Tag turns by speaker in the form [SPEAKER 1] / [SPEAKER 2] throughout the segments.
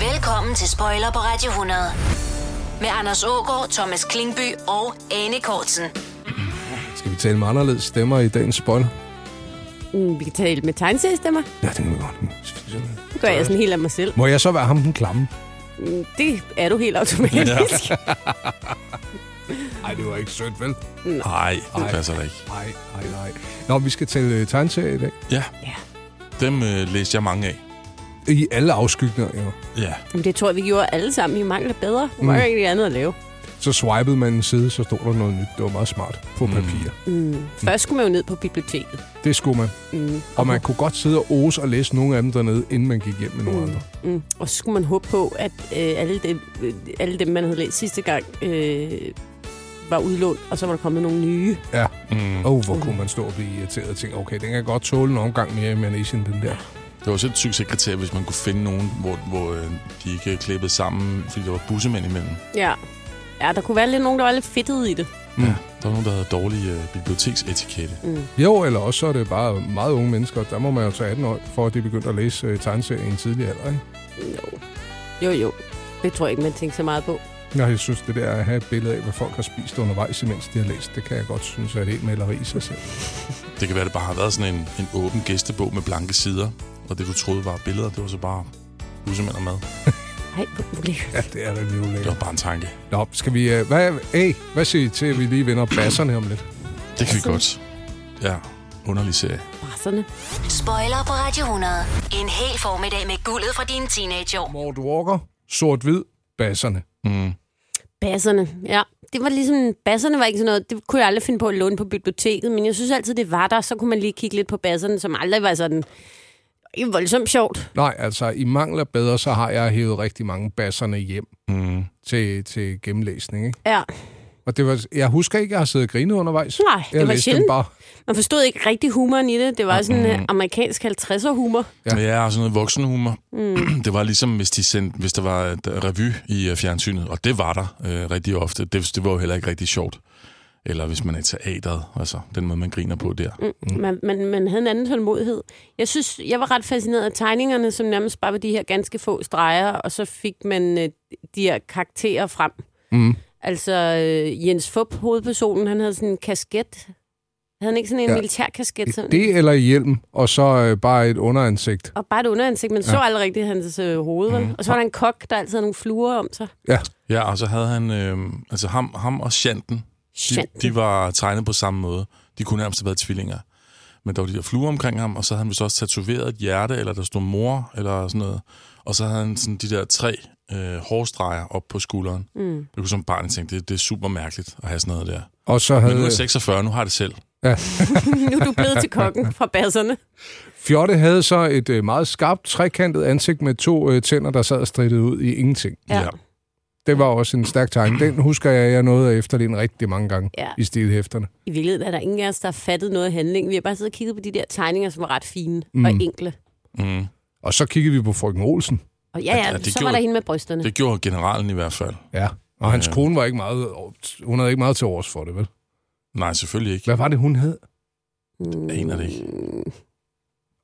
[SPEAKER 1] Velkommen til Spoiler på Radio 100. Med Anders Ågaard, Thomas Klingby og Anne Kortsen.
[SPEAKER 2] Skal vi tale med anderledes stemmer i dagens spoiler?
[SPEAKER 3] Mm, vi kan tale med tegneseriestemmer.
[SPEAKER 2] Ja, det kan vi godt.
[SPEAKER 3] Nu gør jeg sådan helt af mig selv.
[SPEAKER 2] Må jeg så være ham den klamme?
[SPEAKER 3] Mm, Det er du helt automatisk. Ja.
[SPEAKER 2] Nej, det var ikke sødt, vel?
[SPEAKER 4] Nej, det passer da ikke.
[SPEAKER 2] Nej, nej, nej. Nå, vi skal til øh, tegneserier i dag.
[SPEAKER 4] Ja,
[SPEAKER 3] ja.
[SPEAKER 4] dem øh, læste jeg mange af.
[SPEAKER 2] I alle afskygninger, jo.
[SPEAKER 4] Ja,
[SPEAKER 3] Jamen, det tror jeg, vi gjorde alle sammen. Vi mangler bedre. Vi mangler ikke andet at lave.
[SPEAKER 2] Så swipede man en side, så stod der noget nyt. Det var meget smart på papir.
[SPEAKER 3] Først skulle man jo ned på biblioteket.
[SPEAKER 2] Det skulle man. Mm. Og man kunne godt sidde og ose og læse nogle af dem dernede, inden man gik hjem med nogle andre.
[SPEAKER 3] Mm. Og så skulle man håbe på, at øh, alle, dem, øh, alle dem, man havde læst sidste gang, øh, var udlånt, og så var der kommet nogle nye.
[SPEAKER 2] Ja. Mm. Oh, hvor kunne man stå og blive irriteret og tænke, okay, den kan godt tåle en omgang mere i manesien, den der.
[SPEAKER 4] det var sådan et succeskriterie, hvis man kunne finde nogen, hvor, hvor øh, de ikke øh, klippede sammen, fordi der var bussemænd imellem.
[SPEAKER 3] Ja. Ja, der kunne være lidt nogen, der var lidt fedtede i det.
[SPEAKER 4] Der var nogen, der havde dårlig øh, biblioteksetikette. Mm.
[SPEAKER 2] Jo, eller også så er det bare meget unge mennesker. Der må man jo tage 18 år, for at de begyndte at læse øh, tegneserier i en tidlig alder, ikke?
[SPEAKER 3] Jo. Jo, jo. Det tror jeg ikke, man tænker så meget på.
[SPEAKER 2] Nej, jeg synes, det der at have et billede af, hvad folk har spist undervejs, imens de har læst, det kan jeg godt synes er et helt maleri i sig selv.
[SPEAKER 4] Det kan være, det bare har været sådan en, en åben gæstebog med blanke sider, og det, du troede var billeder, det var så bare bussemænd og mad.
[SPEAKER 3] Ej, hvor- hvor lækkert.
[SPEAKER 2] Ja, det er da lidt
[SPEAKER 4] Det var
[SPEAKER 2] ulækkert.
[SPEAKER 4] bare en tanke.
[SPEAKER 2] Nå, skal vi... Øh, hvad, hey, hvad siger I til, at vi lige vender basserne om lidt?
[SPEAKER 4] Det kan vi
[SPEAKER 3] Sådan.
[SPEAKER 4] godt. Ja, underlig serie.
[SPEAKER 3] Brasserne.
[SPEAKER 1] Spoiler på Radio 100. En hel formiddag med guldet fra dine teenageår.
[SPEAKER 2] Mort Walker, sort-hvid, basserne.
[SPEAKER 4] Mm.
[SPEAKER 3] Basserne, ja. Det var ligesom, basserne var ikke sådan noget, det kunne jeg aldrig finde på at låne på biblioteket, men jeg synes altid, det var der, så kunne man lige kigge lidt på basserne, som aldrig var sådan, ikke voldsomt sjovt.
[SPEAKER 2] Nej, altså, i mangler bedre, så har jeg hævet rigtig mange basserne hjem
[SPEAKER 4] Mm.
[SPEAKER 2] til, til gennemlæsning, ikke?
[SPEAKER 3] Ja.
[SPEAKER 2] Og det var, jeg husker ikke, at jeg har siddet og grinet undervejs.
[SPEAKER 3] Nej, det
[SPEAKER 2] jeg
[SPEAKER 3] var
[SPEAKER 2] læste Dem
[SPEAKER 3] sjældent.
[SPEAKER 2] bare.
[SPEAKER 3] Man forstod ikke rigtig humoren i det. Det var sådan mm. amerikansk 50'er humor.
[SPEAKER 2] Ja.
[SPEAKER 4] Ja, ja og sådan noget voksenhumor. Mm. Det var ligesom, hvis, de sendte, hvis der var et revy i øh, fjernsynet, og det var der øh, rigtig ofte. Det, det var jo heller ikke rigtig sjovt. Eller hvis man er i teateret, altså den måde, man griner på der. Mm.
[SPEAKER 3] Mm. Man, man, man havde en anden tålmodighed. Jeg synes, jeg var ret fascineret af tegningerne, som nærmest bare var de her ganske få streger, og så fik man øh, de her karakterer frem.
[SPEAKER 2] Mm.
[SPEAKER 3] Altså, øh, Jens Fup, hovedpersonen, han havde sådan en kasket. Havde han ikke sådan en
[SPEAKER 2] Ja.
[SPEAKER 3] ja. militær kasket? Sådan?
[SPEAKER 2] Det eller i hjelm, og så øh, bare et underansigt.
[SPEAKER 3] Og bare et underansigt, man ja. så aldrig rigtigt hans øh, hoved. Mm. Og så var der en kok, der altid havde nogle fluer om sig.
[SPEAKER 2] Ja,
[SPEAKER 4] Ja, og så havde han, øh, altså ham, ham og Shanten, de,
[SPEAKER 3] Shanten.
[SPEAKER 4] de var tegnet på samme måde. De kunne nærmest have været tvillinger. Men der var de der fluer omkring ham, og så havde han vist også tatoveret et hjerte, eller der stod mor, eller sådan noget. Og så havde han sådan de der tre øh, hårstreger op på skulderen. Mm. Jeg kunne som barn tænke, det, det er super mærkeligt at have sådan noget der.
[SPEAKER 2] og så
[SPEAKER 4] Men nu er
[SPEAKER 2] havde...
[SPEAKER 4] jeg 46, nu har jeg det selv.
[SPEAKER 3] nu er du blevet til kokken fra basserne.
[SPEAKER 2] Fjotte havde så et øh, meget skarpt, trekantet ansigt med to øh, tænder, der sad og strittede ud i ingenting.
[SPEAKER 3] Ja.
[SPEAKER 4] Ja.
[SPEAKER 2] Det var også en stærk tegning. Den husker jeg, jeg nåede at efterligne rigtig mange gange ja.
[SPEAKER 3] Ja.
[SPEAKER 2] i stilhæfterne.
[SPEAKER 3] I virkeligheden er der ingen af os, der har fattet noget af handlingen. Vi har bare siddet og kigget på de der tegninger, som var ret fine mm. og enkle.
[SPEAKER 4] Mm.
[SPEAKER 2] Og så kiggede vi på frøken Olsen.
[SPEAKER 3] Og ja, ja,
[SPEAKER 4] Ja, det
[SPEAKER 3] så var
[SPEAKER 4] gjorde-
[SPEAKER 3] der hende med brysterne. Det...
[SPEAKER 4] Det gjorde generalen i hvert fald.
[SPEAKER 2] Ja. Og hans kone var ikke meget, hun havde ikke meget til års for det, vel?
[SPEAKER 4] Nej, selvfølgelig ikke.
[SPEAKER 2] Hvad var det, hun hed?
[SPEAKER 4] Jeg aner det ikke.
[SPEAKER 3] Mm.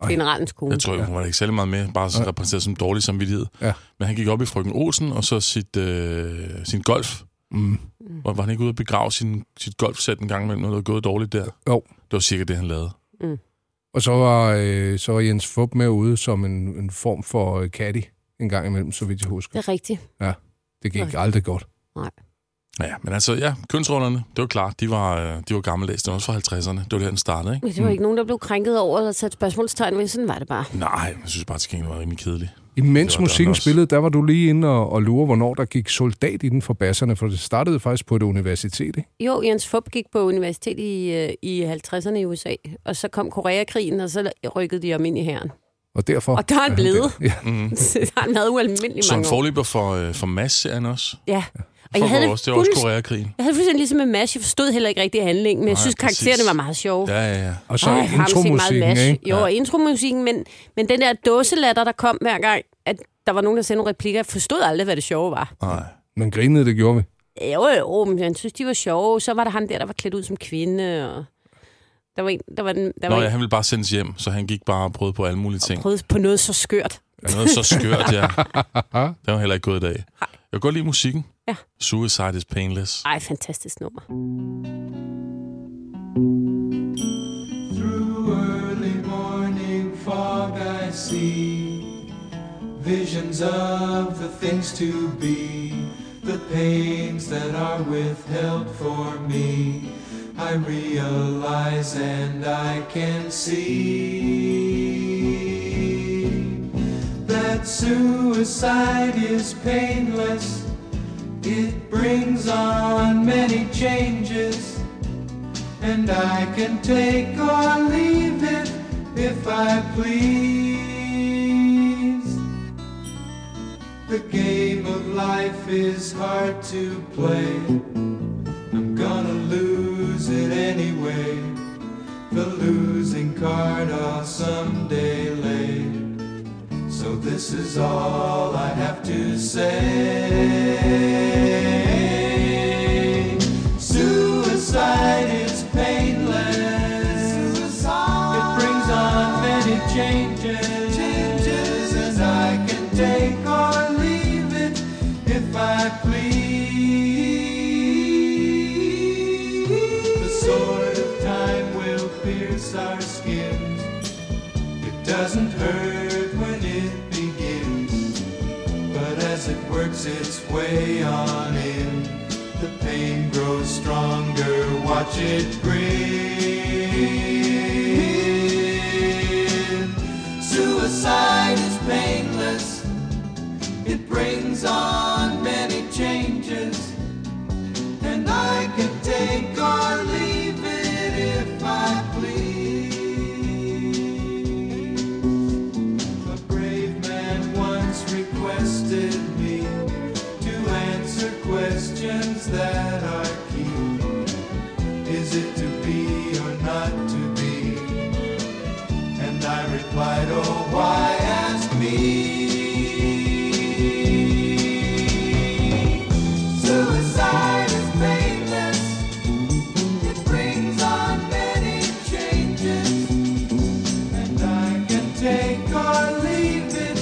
[SPEAKER 3] Generalens kone.
[SPEAKER 4] Jeg tror, hun var ikke særlig meget med, bare sådan repræsenteret som dårlig samvittighed.
[SPEAKER 2] Uh, Ja.
[SPEAKER 4] Men han gik op i frøken Olsen, og så sit, øh, sin golf.
[SPEAKER 2] Mm.
[SPEAKER 4] Var, var han ikke ude at begrave sin, sit golfsæt en gang imellem, når det var gået dårligt der?
[SPEAKER 2] Jo.
[SPEAKER 4] Det var cirka det, han lavede.
[SPEAKER 2] Og så var, øh, så var Jens Fup med ude som en, en form for øh, caddy en gang imellem, så vidt jeg
[SPEAKER 3] Det
[SPEAKER 2] husker.
[SPEAKER 3] er rigtigt.
[SPEAKER 2] Det gik
[SPEAKER 3] Nej.
[SPEAKER 2] aldrig godt.
[SPEAKER 4] Ja, men altså, ja, kønsrollerne, det var klart, de var, øh, de var gammeldags. Det var også fra 50'erne. Det var der, den startede, ikke?
[SPEAKER 3] Men det var ikke nogen, der blev krænket over eller sat spørgsmålstegn ved. Sådan var det bare.
[SPEAKER 4] Nej, jeg synes bare, at det var rimelig kedeligt.
[SPEAKER 2] Imens
[SPEAKER 4] Det var
[SPEAKER 2] musikken
[SPEAKER 4] den også.
[SPEAKER 2] spillede, der var du lige inde og, og lure, hvornår der gik soldat i den for basserne, for det startede faktisk på et universitet, ikke?
[SPEAKER 3] Jo, Jens Fup gik på universitet i, øh, i 50'erne i USA, og så kom Koreakrigen, og så rykkede de om ind i herren.
[SPEAKER 2] Og derfor...
[SPEAKER 3] Og der er han
[SPEAKER 2] han
[SPEAKER 3] blevet.
[SPEAKER 2] der. Ja.
[SPEAKER 3] Så han havde ualmindelig
[SPEAKER 4] Som
[SPEAKER 3] mange år.
[SPEAKER 4] Mm. forløber for, øh, for Mads-serien også.
[SPEAKER 3] Ja. Og
[SPEAKER 4] For
[SPEAKER 3] jeg havde, det
[SPEAKER 4] også, det var også
[SPEAKER 3] fuldst-
[SPEAKER 4] Koreakrigen.
[SPEAKER 3] jeg havde fuldstændig ligesom med Mash, jeg forstod heller ikke rigtig handlingen, men jeg
[SPEAKER 4] Nej,
[SPEAKER 3] synes,
[SPEAKER 4] præcis.
[SPEAKER 3] karaktererne var meget sjove.
[SPEAKER 4] Ja, ja, ja.
[SPEAKER 2] Og så
[SPEAKER 3] Ej, ham siger
[SPEAKER 2] intromusikken,
[SPEAKER 3] meget
[SPEAKER 2] ikke?
[SPEAKER 3] mash. Jo, og intromusikken, men, men den der dåselatter, der kom hver gang, at der var nogen, der sendte nogle replikker, jeg forstod aldrig, hvad det sjove var.
[SPEAKER 4] Nej.
[SPEAKER 2] Men grinede, det gjorde vi.
[SPEAKER 3] Jo, jo, men jeg synes, de var sjove. Så var der ham der, der var klædt ud som kvinde, og der var en, der var, den, der
[SPEAKER 4] Nå
[SPEAKER 3] var
[SPEAKER 4] ja,
[SPEAKER 3] en,
[SPEAKER 4] han ville bare sendes hjem, så han gik bare og prøvede på alle mulige ting.
[SPEAKER 3] prøvede på noget så skørt.
[SPEAKER 4] Ja, noget så skørt, ja. Det var heller ikke gået i dag. Jeg kan godt lide musikken.
[SPEAKER 3] Ja.
[SPEAKER 4] Suicide is painless.
[SPEAKER 3] Ej, fantastisk nummer.
[SPEAKER 5] Through early morning fog I see visions of the things to be, the pains that are withheld for me. I realize and I can see that suicide is painless. It brings on many changes and I can take or leave it if I please. The game of life is hard to play. I'm gonna lose it anyway. The losing card I'll someday lay. So this is all I have to say. Suicide is painless. It brings on many changes. Changes and I can take or leave it if I please. The sword of time will pierce our skins. It doesn't hurt when it begins, but as it works its way on in, the pain grows stronger. Watch it grin. Suicide is painless. It brings on many changes, and I can take or leave it if I please. A brave man once requested me to answer questions that are key. Is it to be or not to be? And I replied, Oh, why ask me? Suicide is painless. It brings on many changes. And I can take or leave it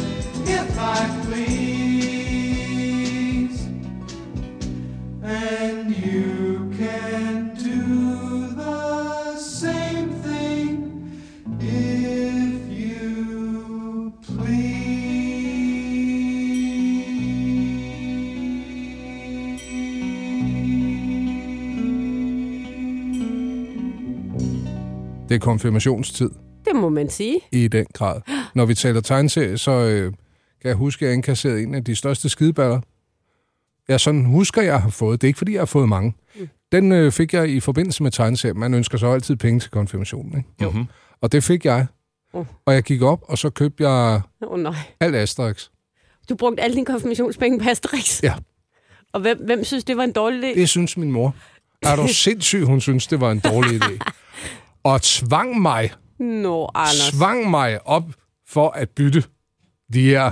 [SPEAKER 5] if I please. And you can do the same thing if you please.
[SPEAKER 2] Det er konfirmationstid
[SPEAKER 3] Det må man sige.
[SPEAKER 2] i den grad. Når vi taler tegneserie, så øh, kan jeg huske, at jeg indkasserede en af de største skideballer. Jeg sådan husker, jeg har fået. Det er ikke, fordi jeg har fået mange. Den øh, fik jeg i forbindelse med tegneserien. Man ønsker så altid penge til konfirmationen, ikke?
[SPEAKER 4] Jo. Mm-hmm.
[SPEAKER 2] Og det fik jeg.
[SPEAKER 3] Mm.
[SPEAKER 2] Og jeg gik op, og så købte jeg
[SPEAKER 3] Åh oh, nej.
[SPEAKER 2] alt Asterix.
[SPEAKER 3] Du brugte alle dine konfirmationspenge på Asterix.
[SPEAKER 2] Ja.
[SPEAKER 3] Og hvem, hvem synes, det var en dårlig idé?
[SPEAKER 2] Det synes min mor. Er du sindssyg, hun synes, det var en dårlig idé. Og tvang mig,
[SPEAKER 3] Nå, Anders.
[SPEAKER 2] tvang mig op for at bytte de her,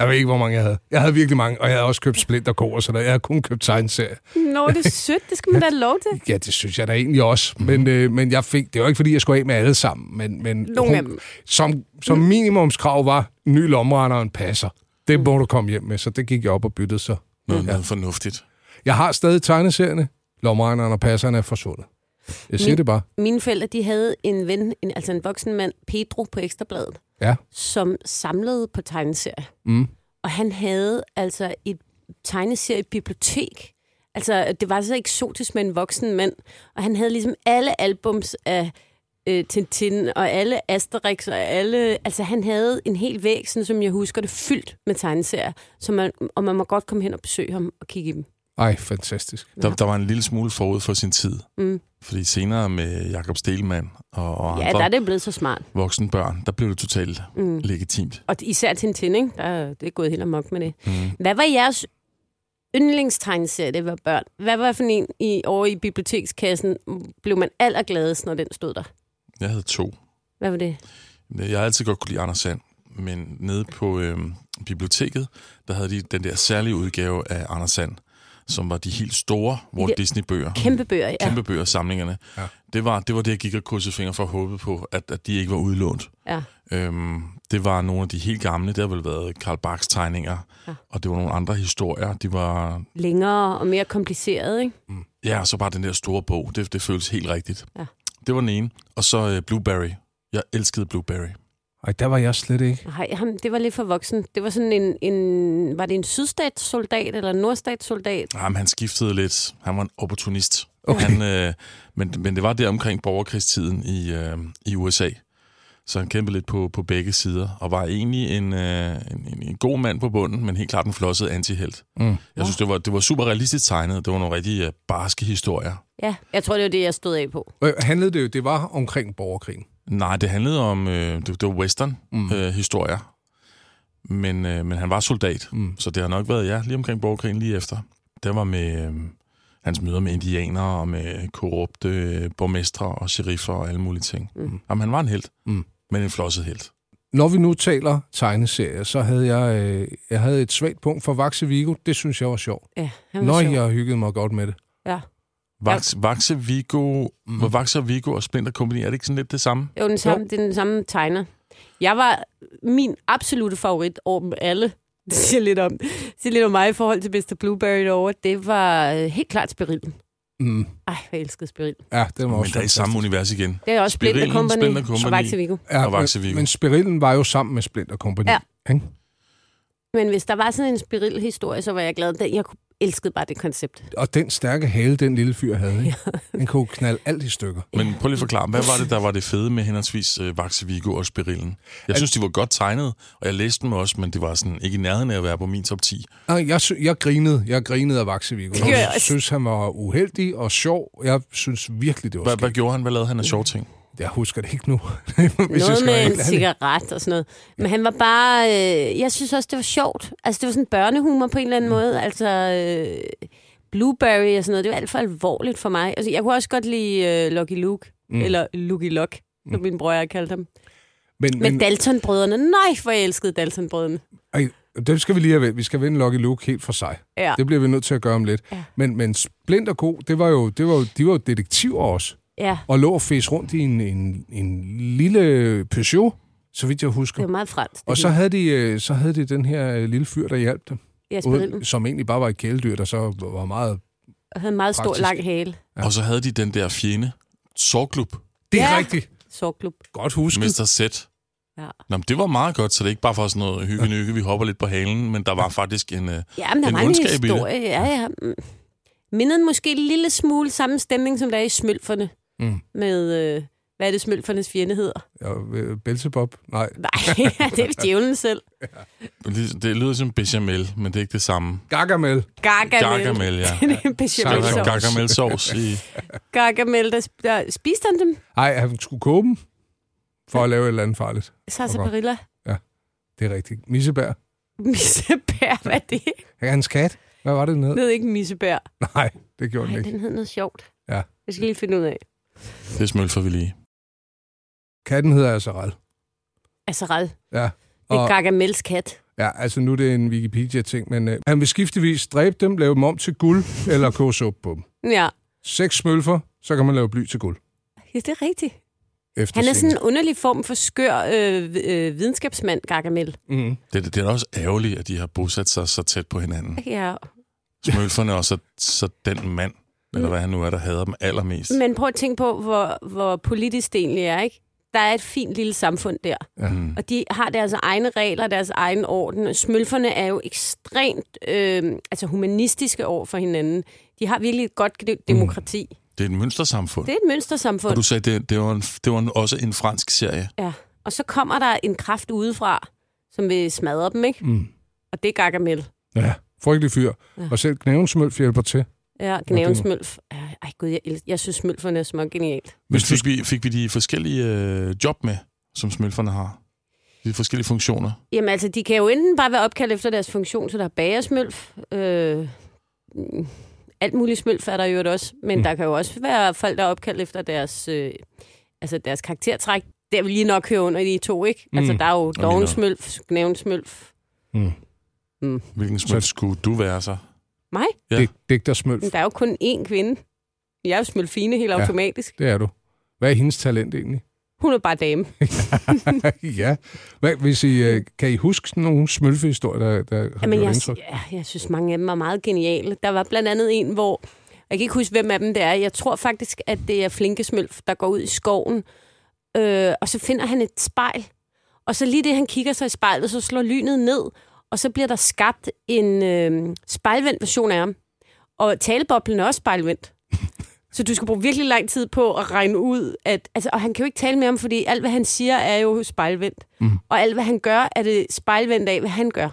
[SPEAKER 2] jeg ved ikke, hvor mange jeg havde. Jeg havde virkelig mange, og jeg havde også købt Splinter Co. og sådan noget. Jeg havde kun købt tegneserier.
[SPEAKER 3] Nå, det er sødt. Det skal man da have lov til.
[SPEAKER 2] Ja, det synes jeg da egentlig også.
[SPEAKER 3] Mhm.
[SPEAKER 2] Men, øh, men jeg fik, det var ikke, fordi jeg skulle af med alle sammen. Men, men
[SPEAKER 3] Nogle af dem. Mm.
[SPEAKER 2] Som, som minimumskrav var, en ny lomrender og en passer. Det må du komme hjem med, så det gik jeg op og byttede så.
[SPEAKER 4] Noget, noget fornuftigt.
[SPEAKER 2] Jeg har stadig tegneserierne. Lomregneren og passerne er forsvundet. Jeg siger
[SPEAKER 3] Min-
[SPEAKER 2] det bare.
[SPEAKER 3] Mine forældre, de havde en ven, en, altså en voksen mand, Pedro på Ekstrabladet,
[SPEAKER 2] Ja.
[SPEAKER 3] som samlede på tegneserier.
[SPEAKER 2] Mm.
[SPEAKER 3] Og han havde altså et tegneseriebibliotek. Altså, det var så eksotisk med en voksen mand. Og han havde ligesom alle albums af øh, Tintin og alle Asterix og alle... Altså, han havde en hel væg, sådan som jeg husker det, fyldt med tegneserier. Så man, og man må godt komme hen og besøge ham og kigge i dem.
[SPEAKER 2] Ej, fantastisk.
[SPEAKER 4] Der, der var en lille smule forud for sin tid.
[SPEAKER 3] Mm.
[SPEAKER 4] Fordi senere med Jakob Stelmann og, og
[SPEAKER 3] Ja,
[SPEAKER 4] andre
[SPEAKER 3] der er det blevet så smart.
[SPEAKER 4] voksne børn, der blev det totalt
[SPEAKER 3] Mm.
[SPEAKER 4] legitimt.
[SPEAKER 3] Og især Tintin, ikke? Der, det er gået helt amok med det. Mm. Hvad var jeres yndlingstegneserie, det var børn? Hvad var for en i, over i bibliotekskassen? Blev man allergladest, når den stod der?
[SPEAKER 4] Jeg havde to.
[SPEAKER 3] Hvad var det?
[SPEAKER 4] Jeg har altid godt kunne lide Anders Sand, men nede på øhm, biblioteket, der havde de den der særlige udgave af Anders Sand, som var de helt store Walt
[SPEAKER 3] Ja.
[SPEAKER 4] Disney-bøger.
[SPEAKER 3] Kæmpe bøger, ja.
[SPEAKER 4] Kæmpe bøger, samlingerne.
[SPEAKER 2] Ja.
[SPEAKER 4] Det, var, det var det, jeg gik og krydsede fingre for at håbe på, at, at de ikke var udlånt.
[SPEAKER 3] ja.
[SPEAKER 4] Øhm, det var nogle af de helt gamle. Det har vel været Karl Bachs tegninger,
[SPEAKER 3] Ja.
[SPEAKER 4] ja. og det var nogle andre historier. De var,
[SPEAKER 3] Længere og mere kompliceret, ikke?
[SPEAKER 4] ja, og så bare den der store bog. Det, det føles helt rigtigt.
[SPEAKER 3] Ja.
[SPEAKER 4] Det var den ene. Og så øh, Blueberry. Jeg elskede Blueberry.
[SPEAKER 2] Ej, der var jeg slet ikke.
[SPEAKER 3] Nej, ham, det var lidt for voksen. Det var sådan en, en var det en sydstatssoldat eller en nordstatssoldat?
[SPEAKER 4] Jamen, han skiftede lidt. Han var en opportunist.
[SPEAKER 2] Okay.
[SPEAKER 4] Han, øh, men, men det var der omkring borgerkrigstiden i, øh, i USA. Så han kæmpede lidt på, på begge sider, og var egentlig en, øh, en, en, en god mand på bunden, men helt klart en flosset antihelt.
[SPEAKER 2] Mm.
[SPEAKER 4] Jeg synes, det var, det var super realistisk tegnet. Det var nogle rigtig øh, barske historier.
[SPEAKER 3] Ja, jeg tror, det var det, jeg stod af på.
[SPEAKER 2] Øh, handlede det jo, det var omkring borgerkrigen.
[SPEAKER 4] Nej, det handlede om øh, det, det var
[SPEAKER 2] Mm.
[SPEAKER 4] western-historier. Øh, historier. men, øh, men han var soldat,
[SPEAKER 2] Mm.
[SPEAKER 4] mm. så det har nok været, ja, lige omkring borgerkrigen lige efter. Det var med øh, hans møder med indianere og med korrupte øh, borgmestre og sheriffer og alle mulige ting.
[SPEAKER 3] Mm.
[SPEAKER 4] Mm. Jamen, han var en held,
[SPEAKER 2] Mm.
[SPEAKER 4] men en flosset held.
[SPEAKER 2] Når vi nu taler tegneserier, så havde jeg, øh, jeg havde et svagt punkt for Vaxe Vigo. Det synes jeg var sjovt.
[SPEAKER 3] Ja, han var
[SPEAKER 2] Nå,
[SPEAKER 3] sjov.
[SPEAKER 2] jeg har hygget mig godt med det.
[SPEAKER 3] Ja.
[SPEAKER 4] Vax, Vaxe Vigo, mm. hvor Vaxe Vigo og Splinter Company, er det ikke sådan lidt det samme?
[SPEAKER 3] Jo, den samme, det er den samme tegner. Jeg var min absolute favorit over dem alle. Det siger lidt om, det siger lidt om mig i forhold til Mr. Blueberry derovre. Det var øh, helt klart Spirillen.
[SPEAKER 2] Mm.
[SPEAKER 3] Ej, jeg elskede Spirillen.
[SPEAKER 2] Ja, den var
[SPEAKER 4] Men
[SPEAKER 2] også
[SPEAKER 4] der er i samme univers igen.
[SPEAKER 3] Det er også Splinter
[SPEAKER 4] Spirillen,
[SPEAKER 3] Company,
[SPEAKER 4] Splinter Company.
[SPEAKER 3] og Vaxe Vigo.
[SPEAKER 2] Ja,
[SPEAKER 4] Og Vaxe Vigo.
[SPEAKER 2] Men Spirillen var jo sammen med Splinter Company.
[SPEAKER 3] Ja.
[SPEAKER 2] ikke?
[SPEAKER 3] Men hvis der var sådan en Spirill-historie, så var jeg glad. Den- Jeg kunne- elskede bare det koncept.
[SPEAKER 2] Og den stærke hale, den lille fyr havde, ikke? den kunne knalde alt i stykker.
[SPEAKER 4] Men prøv lige at forklare, hvad var det, der var det fede med henholdsvis øh, Vaxe Vigo og Spirillen? Jeg synes, de var godt tegnet, og jeg læste dem også, men det var sådan ikke i nærheden af at være på min top 10.
[SPEAKER 2] Nej, jeg, sy- jeg grinede. Jeg grinede af Vaxevigo.
[SPEAKER 3] gjorde jeg
[SPEAKER 2] Jeg
[SPEAKER 3] også.
[SPEAKER 2] synes, han var uheldig og sjov. Jeg synes virkelig, det var
[SPEAKER 4] Hvad, hvad
[SPEAKER 2] skægt.
[SPEAKER 4] gjorde han? Hvad lavede han af sjove ting?
[SPEAKER 2] Jeg husker det ikke nu. Hvis jeg
[SPEAKER 3] Noget
[SPEAKER 2] skal
[SPEAKER 3] med
[SPEAKER 2] være
[SPEAKER 3] en
[SPEAKER 2] helt ærlig.
[SPEAKER 3] cigaret og sådan noget. Men han var bare... Øh, jeg synes også, det var sjovt. Altså, det var sådan børnehumor på en eller anden
[SPEAKER 2] Mm.
[SPEAKER 3] måde. Altså, øh, Blueberry og sådan noget, det var alt for alvorligt for mig. Altså, jeg kunne også godt lide øh, Lucky Luke. Mm. Eller Lucky Luck, som min bror og jeg kaldte ham.
[SPEAKER 2] Men,
[SPEAKER 3] Men,
[SPEAKER 2] Mm. men,
[SPEAKER 3] Men Dalton-brødrene. Nej, hvor jeg elskede Dalton-brødrene.
[SPEAKER 2] ej, dem skal vi lige have ved. Vi skal vende Lucky Luke helt for sig.
[SPEAKER 3] Ja.
[SPEAKER 2] Det bliver vi nødt til at gøre om lidt.
[SPEAKER 3] Ja.
[SPEAKER 2] Men, men Splint og Co, det var jo, det var jo, de var jo detektiver også.
[SPEAKER 3] Ja,
[SPEAKER 2] Og lå og fes rundt i en, en, en lille Peugeot, så vidt jeg
[SPEAKER 3] det
[SPEAKER 2] husker.
[SPEAKER 3] var meget fransk. det
[SPEAKER 2] Og så
[SPEAKER 3] hele.
[SPEAKER 2] havde, de, øh, så havde de den her øh, lille fyr, der hjalp dem.
[SPEAKER 3] Ja,
[SPEAKER 2] Uden,
[SPEAKER 3] Spirillen.
[SPEAKER 2] som egentlig bare var et kæledyr, der så var meget...
[SPEAKER 3] Og havde en meget stor,
[SPEAKER 2] Praktisk.
[SPEAKER 3] lang hale.
[SPEAKER 4] Ja. Og så havde de den der fjende, Sorgklub,
[SPEAKER 2] Det er
[SPEAKER 3] Ja.
[SPEAKER 2] ja. rigtigt.
[SPEAKER 3] Sorgklub.
[SPEAKER 2] Godt husket.
[SPEAKER 4] Mr. Z.
[SPEAKER 3] Ja.
[SPEAKER 4] Nå, men det var meget godt, så det er ikke bare for sådan noget hygge nykke, vi hopper lidt på halen, men der var faktisk en... Øh,
[SPEAKER 3] Ja, men der
[SPEAKER 4] En
[SPEAKER 3] var en
[SPEAKER 4] ondskab i det.
[SPEAKER 3] historie. Ja, ja. Mm. Mindede måske en lille smule samme stemning, som der er i Smølferne.
[SPEAKER 2] Mm.
[SPEAKER 3] Med, øh, hvad er det Smølfernes fjende hedder?
[SPEAKER 2] Ja, øh, Belzebub. Nej.
[SPEAKER 3] Nej, det er djævlen selv.
[SPEAKER 4] det lyder som bechamel, men det er ikke det samme.
[SPEAKER 2] Gargamel.
[SPEAKER 3] Gargamel.
[SPEAKER 4] Gargamel, ja.
[SPEAKER 3] Det er en bechamel
[SPEAKER 2] Gargamel.
[SPEAKER 4] Gargamel,
[SPEAKER 3] sovs.
[SPEAKER 4] Gargamel sovs i...
[SPEAKER 3] Gargamel, der, sp- der spiste han dem.
[SPEAKER 2] Nej, han skulle kåbe dem for at lave et eller andet farligt.
[SPEAKER 3] Sasa
[SPEAKER 2] Okay.
[SPEAKER 3] Perilla.
[SPEAKER 2] Det er rigtigt. Missebær.
[SPEAKER 3] Missebær, hvad er det?
[SPEAKER 2] Hans kat. Hvad var det, den hed?
[SPEAKER 3] Den hed ikke Missebær.
[SPEAKER 2] Nej, det gjorde
[SPEAKER 3] Nej,
[SPEAKER 2] den ikke.
[SPEAKER 3] den hed noget sjovt.
[SPEAKER 2] Ja.
[SPEAKER 3] Jeg skal lige finde ud af.
[SPEAKER 4] Det smølfer vi lige.
[SPEAKER 2] Katten hedder Azarel.
[SPEAKER 3] Altså, red.
[SPEAKER 2] Ja.
[SPEAKER 3] Det er
[SPEAKER 2] Og,
[SPEAKER 3] Gargamels kat.
[SPEAKER 2] ja, altså nu er det en Wikipedia-ting, men øh, han vil skiftevis dræbe dem, lave dem om til guld eller kåse op på dem.
[SPEAKER 3] Ja,
[SPEAKER 2] Seks smølfer, så kan man lave bly til guld.
[SPEAKER 3] Ja, det er rigtigt.
[SPEAKER 2] Efter
[SPEAKER 3] Han er sådan
[SPEAKER 2] scenen.
[SPEAKER 3] en underlig form for skør øh, øh, videnskabsmand, Gargamel.
[SPEAKER 2] Mm.
[SPEAKER 4] Det, det er da også ærgerligt, at de har bosat sig så tæt på hinanden.
[SPEAKER 3] Ja.
[SPEAKER 4] Smølferne og så, så den mand, eller hvad han nu er, der hader dem allermest.
[SPEAKER 3] Men prøv at tænke på, hvor, hvor politisk det egentlig er, ikke? Der er et fint lille samfund der,
[SPEAKER 4] Mm.
[SPEAKER 3] og de har deres egne regler, deres egen orden. Og Smølferne er jo ekstremt øh, altså humanistiske over for hinanden. De har virkelig et godt de- demokrati. Mm.
[SPEAKER 4] Det er et mønstersamfund.
[SPEAKER 3] Det er et
[SPEAKER 4] Og
[SPEAKER 3] mønstersamfund.
[SPEAKER 4] du sagde, det, det var, en, det var en, også en fransk serie.
[SPEAKER 3] Ja. Og så kommer der en kraft udefra, som vil smadre dem, ikke?
[SPEAKER 2] Mm.
[SPEAKER 3] Og det er Gargamel.
[SPEAKER 2] Ja, frygtelig fyr.
[SPEAKER 3] Ja.
[SPEAKER 2] Ja. Og selv knæven smølf hjælper til.
[SPEAKER 3] Ja, Gnaven Smølf. Ja, Ej gud, jeg, el- jeg synes Smølferne er små genialt.
[SPEAKER 4] Men
[SPEAKER 2] Hvis du
[SPEAKER 4] fik vi, fik vi de forskellige øh, job med, som smølferne har? De forskellige funktioner?
[SPEAKER 3] Jamen altså, de kan jo enten bare være opkaldt efter deres funktion, så der er bagersmølf. Øh, mm, alt muligt smølf er der jo også, men mm. der kan jo også være folk, der er opkaldt efter deres, øh, altså deres karaktertræk. Der vil lige nok høre under de to, ikke? Mm. Altså,
[SPEAKER 2] Mm.
[SPEAKER 3] der er jo
[SPEAKER 4] nok.
[SPEAKER 3] dovensmølf, gnævensmølf.
[SPEAKER 2] Mm.
[SPEAKER 4] Hvilken smølf skulle du være så?
[SPEAKER 3] Mig?
[SPEAKER 4] Ja.
[SPEAKER 2] ja. dig, digtersmølf.
[SPEAKER 3] Men der er jo kun én kvinde. Jeg er jo Smølfine helt
[SPEAKER 2] Ja.
[SPEAKER 3] automatisk.
[SPEAKER 2] Det er du. Hvad er hendes talent egentlig?
[SPEAKER 3] Hun er bare dame.
[SPEAKER 2] ja. Hvad, hvis I, øh, kan I huske sådan nogle smølfehistorier, der, der har
[SPEAKER 3] Jamen,
[SPEAKER 2] gjort
[SPEAKER 3] jeg,
[SPEAKER 2] indtryk?
[SPEAKER 3] ja, jeg synes, mange af dem er meget geniale. Der var blandt andet en, hvor... Jeg kan ikke huske, hvem af dem det er. Jeg tror faktisk, at det er Flinkesmølf, der går ud i skoven. Øh, og så finder han et spejl. Og så lige det, han kigger sig i spejlet, så slår lynet ned. Og så bliver der skabt en øh, spejlvendt version af ham. Og taleboblen er også spejlvendt. Så du skal bruge virkelig lang tid på at regne ud, at... Altså, og han kan jo ikke tale med ham, fordi alt, hvad han siger, er jo spejlvendt. Mm. Og alt, hvad han gør, er det spejlvendt af, hvad han gør.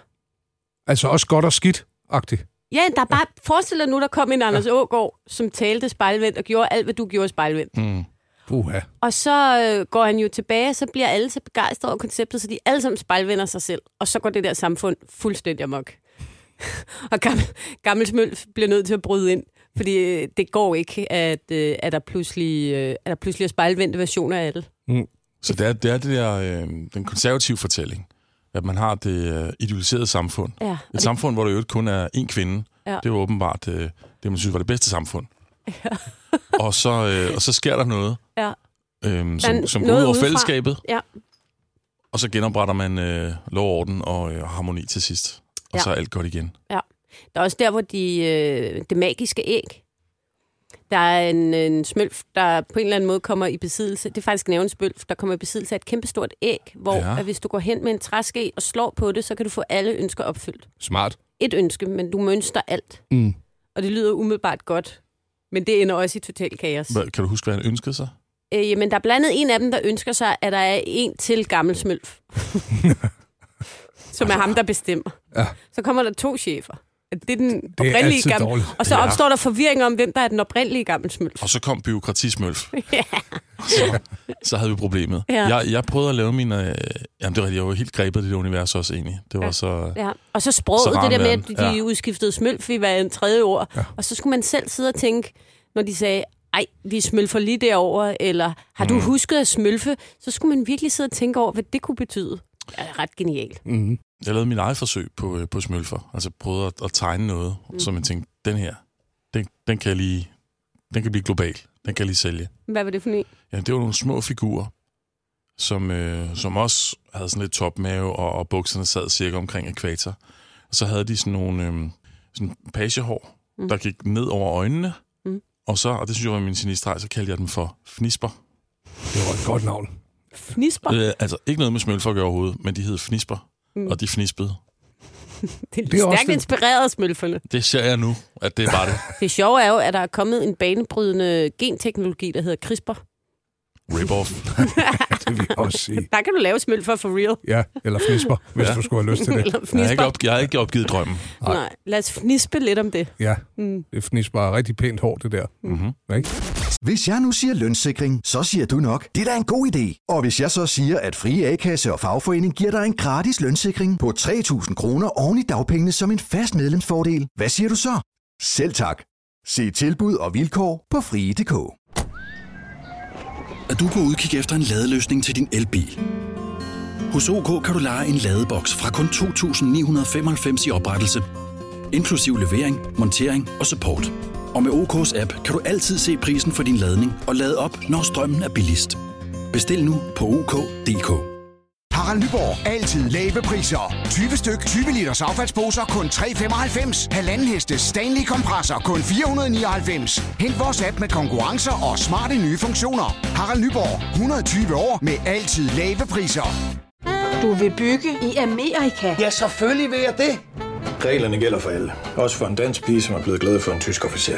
[SPEAKER 2] Altså også godt og skidt-agtigt.
[SPEAKER 3] Ja, der er bare... Forestil dig nu, der kom en Anders Ågaard, som talte spejlvendt og gjorde alt, hvad du gjorde spejlvendt. Mm.
[SPEAKER 2] Uha.
[SPEAKER 3] Og så øh, går han jo tilbage, og så bliver alle så begejstrede over konceptet, så de alle sammen spejlvender sig selv. Og så går det der samfund fuldstændig amok. og gammel, gammel Smølf bliver nødt til at bryde ind, fordi øh, det går ikke, at, øh, at, der, pludselig, øh, at der pludselig er spejlvendte versioner af alle.
[SPEAKER 4] Så det er det, er det der, øh, den konservative fortælling, at man har det øh, idealiserede samfund.
[SPEAKER 3] Ja, og
[SPEAKER 4] Et
[SPEAKER 3] det-
[SPEAKER 4] samfund, hvor der jo kun er én kvinde.
[SPEAKER 3] Ja.
[SPEAKER 4] Det var åbenbart øh, det, man synes var det bedste samfund. Ja. og, så, øh, og så sker der noget,
[SPEAKER 3] Ja.
[SPEAKER 4] øh, som,
[SPEAKER 3] Men
[SPEAKER 4] som går
[SPEAKER 3] noget
[SPEAKER 4] ud over
[SPEAKER 3] udefra.
[SPEAKER 4] fællesskabet,
[SPEAKER 3] Ja,
[SPEAKER 4] og så genopretter man øh, lov, og orden og øh, harmoni til sidst. Og
[SPEAKER 3] Ja.
[SPEAKER 4] så er alt godt igen.
[SPEAKER 3] Ja. Der er også der, hvor de, øh, det magiske æg. Der er en, en smølf, der på en eller anden måde kommer i besiddelse. Det er faktisk en smølf, der kommer i besiddelse af et kæmpestort æg, hvor
[SPEAKER 4] Ja.
[SPEAKER 3] ja. at hvis du går hen med en træske og slår på det, så kan du få alle ønsker opfyldt.
[SPEAKER 2] Smart.
[SPEAKER 3] Et ønske, men du mønster alt.
[SPEAKER 2] Mm.
[SPEAKER 3] Og det lyder umiddelbart godt, men det ender også i total kaos.
[SPEAKER 4] Hvad, kan du huske, hvad han ønskede sig?
[SPEAKER 3] Øh, jamen, der er blandt andet en af dem, der ønsker sig, at der er en til gammel smølf. som er ham, der bestemmer.
[SPEAKER 2] Ja.
[SPEAKER 3] Så kommer der to chefer. Det er den
[SPEAKER 2] er
[SPEAKER 3] oprindelige
[SPEAKER 2] altid
[SPEAKER 3] gamle.
[SPEAKER 2] dårligt.
[SPEAKER 3] Og så opstår der forvirring om, hvem der er den oprindelige gammel smølf.
[SPEAKER 4] Og så kom byråkratismølf. så, så havde vi problemet.
[SPEAKER 3] Ja.
[SPEAKER 4] Jeg, jeg prøvede at lave mine... Øh, jamen, det var rigtigt. Jeg var helt grebet af det der univers også egentlig. Det var ja. så...
[SPEAKER 3] Ja. Og så
[SPEAKER 4] Så
[SPEAKER 3] sproget,
[SPEAKER 4] rar
[SPEAKER 3] det der med,
[SPEAKER 4] verden.
[SPEAKER 3] at de
[SPEAKER 4] Ja.
[SPEAKER 3] ja. udskiftede smølf i hver en tredje ord. Ja. Og så skulle man selv sidde og tænke, når de sagde, ej, vi smølfer lige derover eller har du husket at smølfe? Så skulle man virkelig sidde og tænke over, hvad det kunne betyde. Ja, det er ret genialt.
[SPEAKER 2] Mm.
[SPEAKER 4] Jeg lavede min eget forsøg på, øh, på smølfer. Altså prøvede at, at tegne noget, mm. som jeg tænkte, den her, den, den kan jeg lige... Den kan blive global. Den kan jeg lige sælge.
[SPEAKER 3] Hvad var det for en?
[SPEAKER 4] Ja, det var nogle små figurer, som, øh, som også havde sådan lidt topmave, og, og bukserne sad cirka omkring ekvator. Og så havde de sådan nogle øh, sådan pagehår, mm. der gik ned over øjnene. Mm.
[SPEAKER 3] Mm.
[SPEAKER 4] Og så, og det synes jeg var min sinistreg, så kaldte jeg dem for fnisper.
[SPEAKER 2] Det var et godt navn.
[SPEAKER 3] Fnisper.
[SPEAKER 4] Øh, altså ikke noget med smølfolk overhovedet, men de hed fnisper, mm. og de fnispede.
[SPEAKER 3] Det er,
[SPEAKER 2] Det er også
[SPEAKER 3] stærkt
[SPEAKER 2] det-
[SPEAKER 3] inspireret af smølferne.
[SPEAKER 4] Det ser jeg nu, at det var det.
[SPEAKER 3] Det sjove er jo, at der er kommet en banebrydende genteknologi, der hedder CRISPR.
[SPEAKER 4] Rip-off.
[SPEAKER 2] Det vil jeg også sige.
[SPEAKER 3] Der kan du lave smølfer for real.
[SPEAKER 2] Ja, eller fnisper, hvis
[SPEAKER 4] Ja.
[SPEAKER 2] ja. du skulle have lyst til det.
[SPEAKER 3] Eller
[SPEAKER 4] Jeg har, ikke
[SPEAKER 3] fnisper.
[SPEAKER 4] op, jeg har ikke opgivet drømmen.
[SPEAKER 3] Nej, lad os fnispe lidt om det.
[SPEAKER 2] Ja,
[SPEAKER 3] Mm.
[SPEAKER 2] det fnisper er rigtig pænt hårdt, det der.
[SPEAKER 4] Mm-hmm.
[SPEAKER 2] Ikke?
[SPEAKER 6] Hvis jeg nu siger lønssikring, så siger du nok, det er da en god idé. Og hvis jeg så siger, at Frie A-kasse og fagforening giver dig en gratis lønssikring på 3.000 kroner oven i dagpengene som en fast medlemsfordel, hvad siger du så? Selv tak. Se tilbud og vilkår på frie.dk.
[SPEAKER 7] er du på udkig efter en ladeløsning til din elbil. Hos OK kan du lege en ladeboks fra kun 2.995 i oprettelse, inklusiv levering, montering og support. Og med OK's app kan du altid se prisen for din ladning og lade op, når strømmen er billigst. Bestil nu på OK.dk. OK
[SPEAKER 8] Harald Nyborg. Altid lave priser. 20 styk, 20 liters affaldsposer kun 3,95. Halvanden heste Stanley kompresser kun 499. Hent vores app med konkurrencer og smarte nye funktioner. Harald Nyborg. 120 år med altid lave priser.
[SPEAKER 9] Du vil bygge i Amerika?
[SPEAKER 10] Ja, selvfølgelig vil jeg det.
[SPEAKER 11] Reglerne gælder for alle. Også for en dansk pige, som er blevet glad for en tysk officer.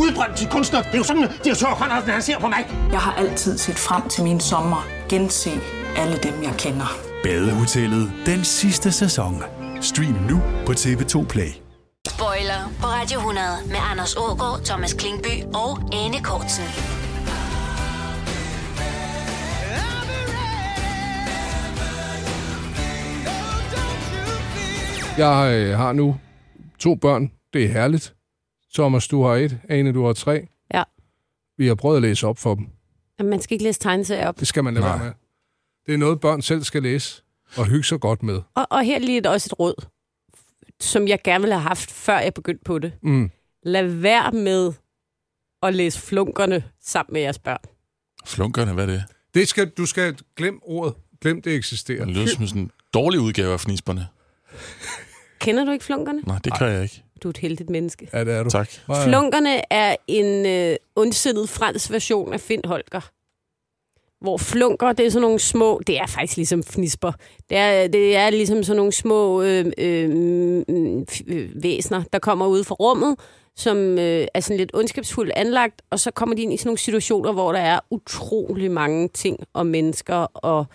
[SPEAKER 10] Udbrændt til kunstner. Det er jo sådan, at de har Conradsen, han ser på mig.
[SPEAKER 9] Jeg har altid set frem til min sommer. Gense alle dem, jeg kender.
[SPEAKER 12] Badehotellet den sidste sæson. Stream nu på TV2 Play.
[SPEAKER 1] Spoiler på Radio 100 med Anders Ågaard, Thomas Klingby og Anne Kortsen.
[SPEAKER 2] Jeg øh, har nu to børn. Det er herligt. Thomas, du har et. Ane, du har tre.
[SPEAKER 3] Ja.
[SPEAKER 2] Vi har prøvet at læse op for dem.
[SPEAKER 3] Jamen, man skal ikke læse tegneserier op.
[SPEAKER 2] Det skal man lade
[SPEAKER 4] Nej.
[SPEAKER 2] være med. Det er noget, børn selv skal læse og hygge sig godt med.
[SPEAKER 3] Og, og her lige et, også et råd, som jeg gerne ville have haft, før jeg begyndte på det.
[SPEAKER 2] Mm.
[SPEAKER 3] lad være med at læse flunkerne sammen med jeres børn.
[SPEAKER 4] Flunkerne, hvad er det?
[SPEAKER 2] Det skal, du skal glem ordet. Glem, det eksisterer.
[SPEAKER 4] Det lyder som sådan en dårlig udgave af fnisberne.
[SPEAKER 3] Kender du ikke flunkerne?
[SPEAKER 4] Nej, det kan jeg ikke.
[SPEAKER 3] Du er et heldigt menneske.
[SPEAKER 2] Ja, det er du.
[SPEAKER 4] Tak.
[SPEAKER 3] Flunkerne er en øh, ondsindet fransk version af Finn Holger. Hvor flunker, det er sådan nogle små... Det er faktisk ligesom fnisper. Det er, det er ligesom sådan nogle små øh, øh, f- øh, væsner, der kommer ud fra rummet, som øh, er sådan lidt ondskabsfuldt anlagt, og så kommer de ind i sådan nogle situationer, hvor der er utrolig mange ting og mennesker og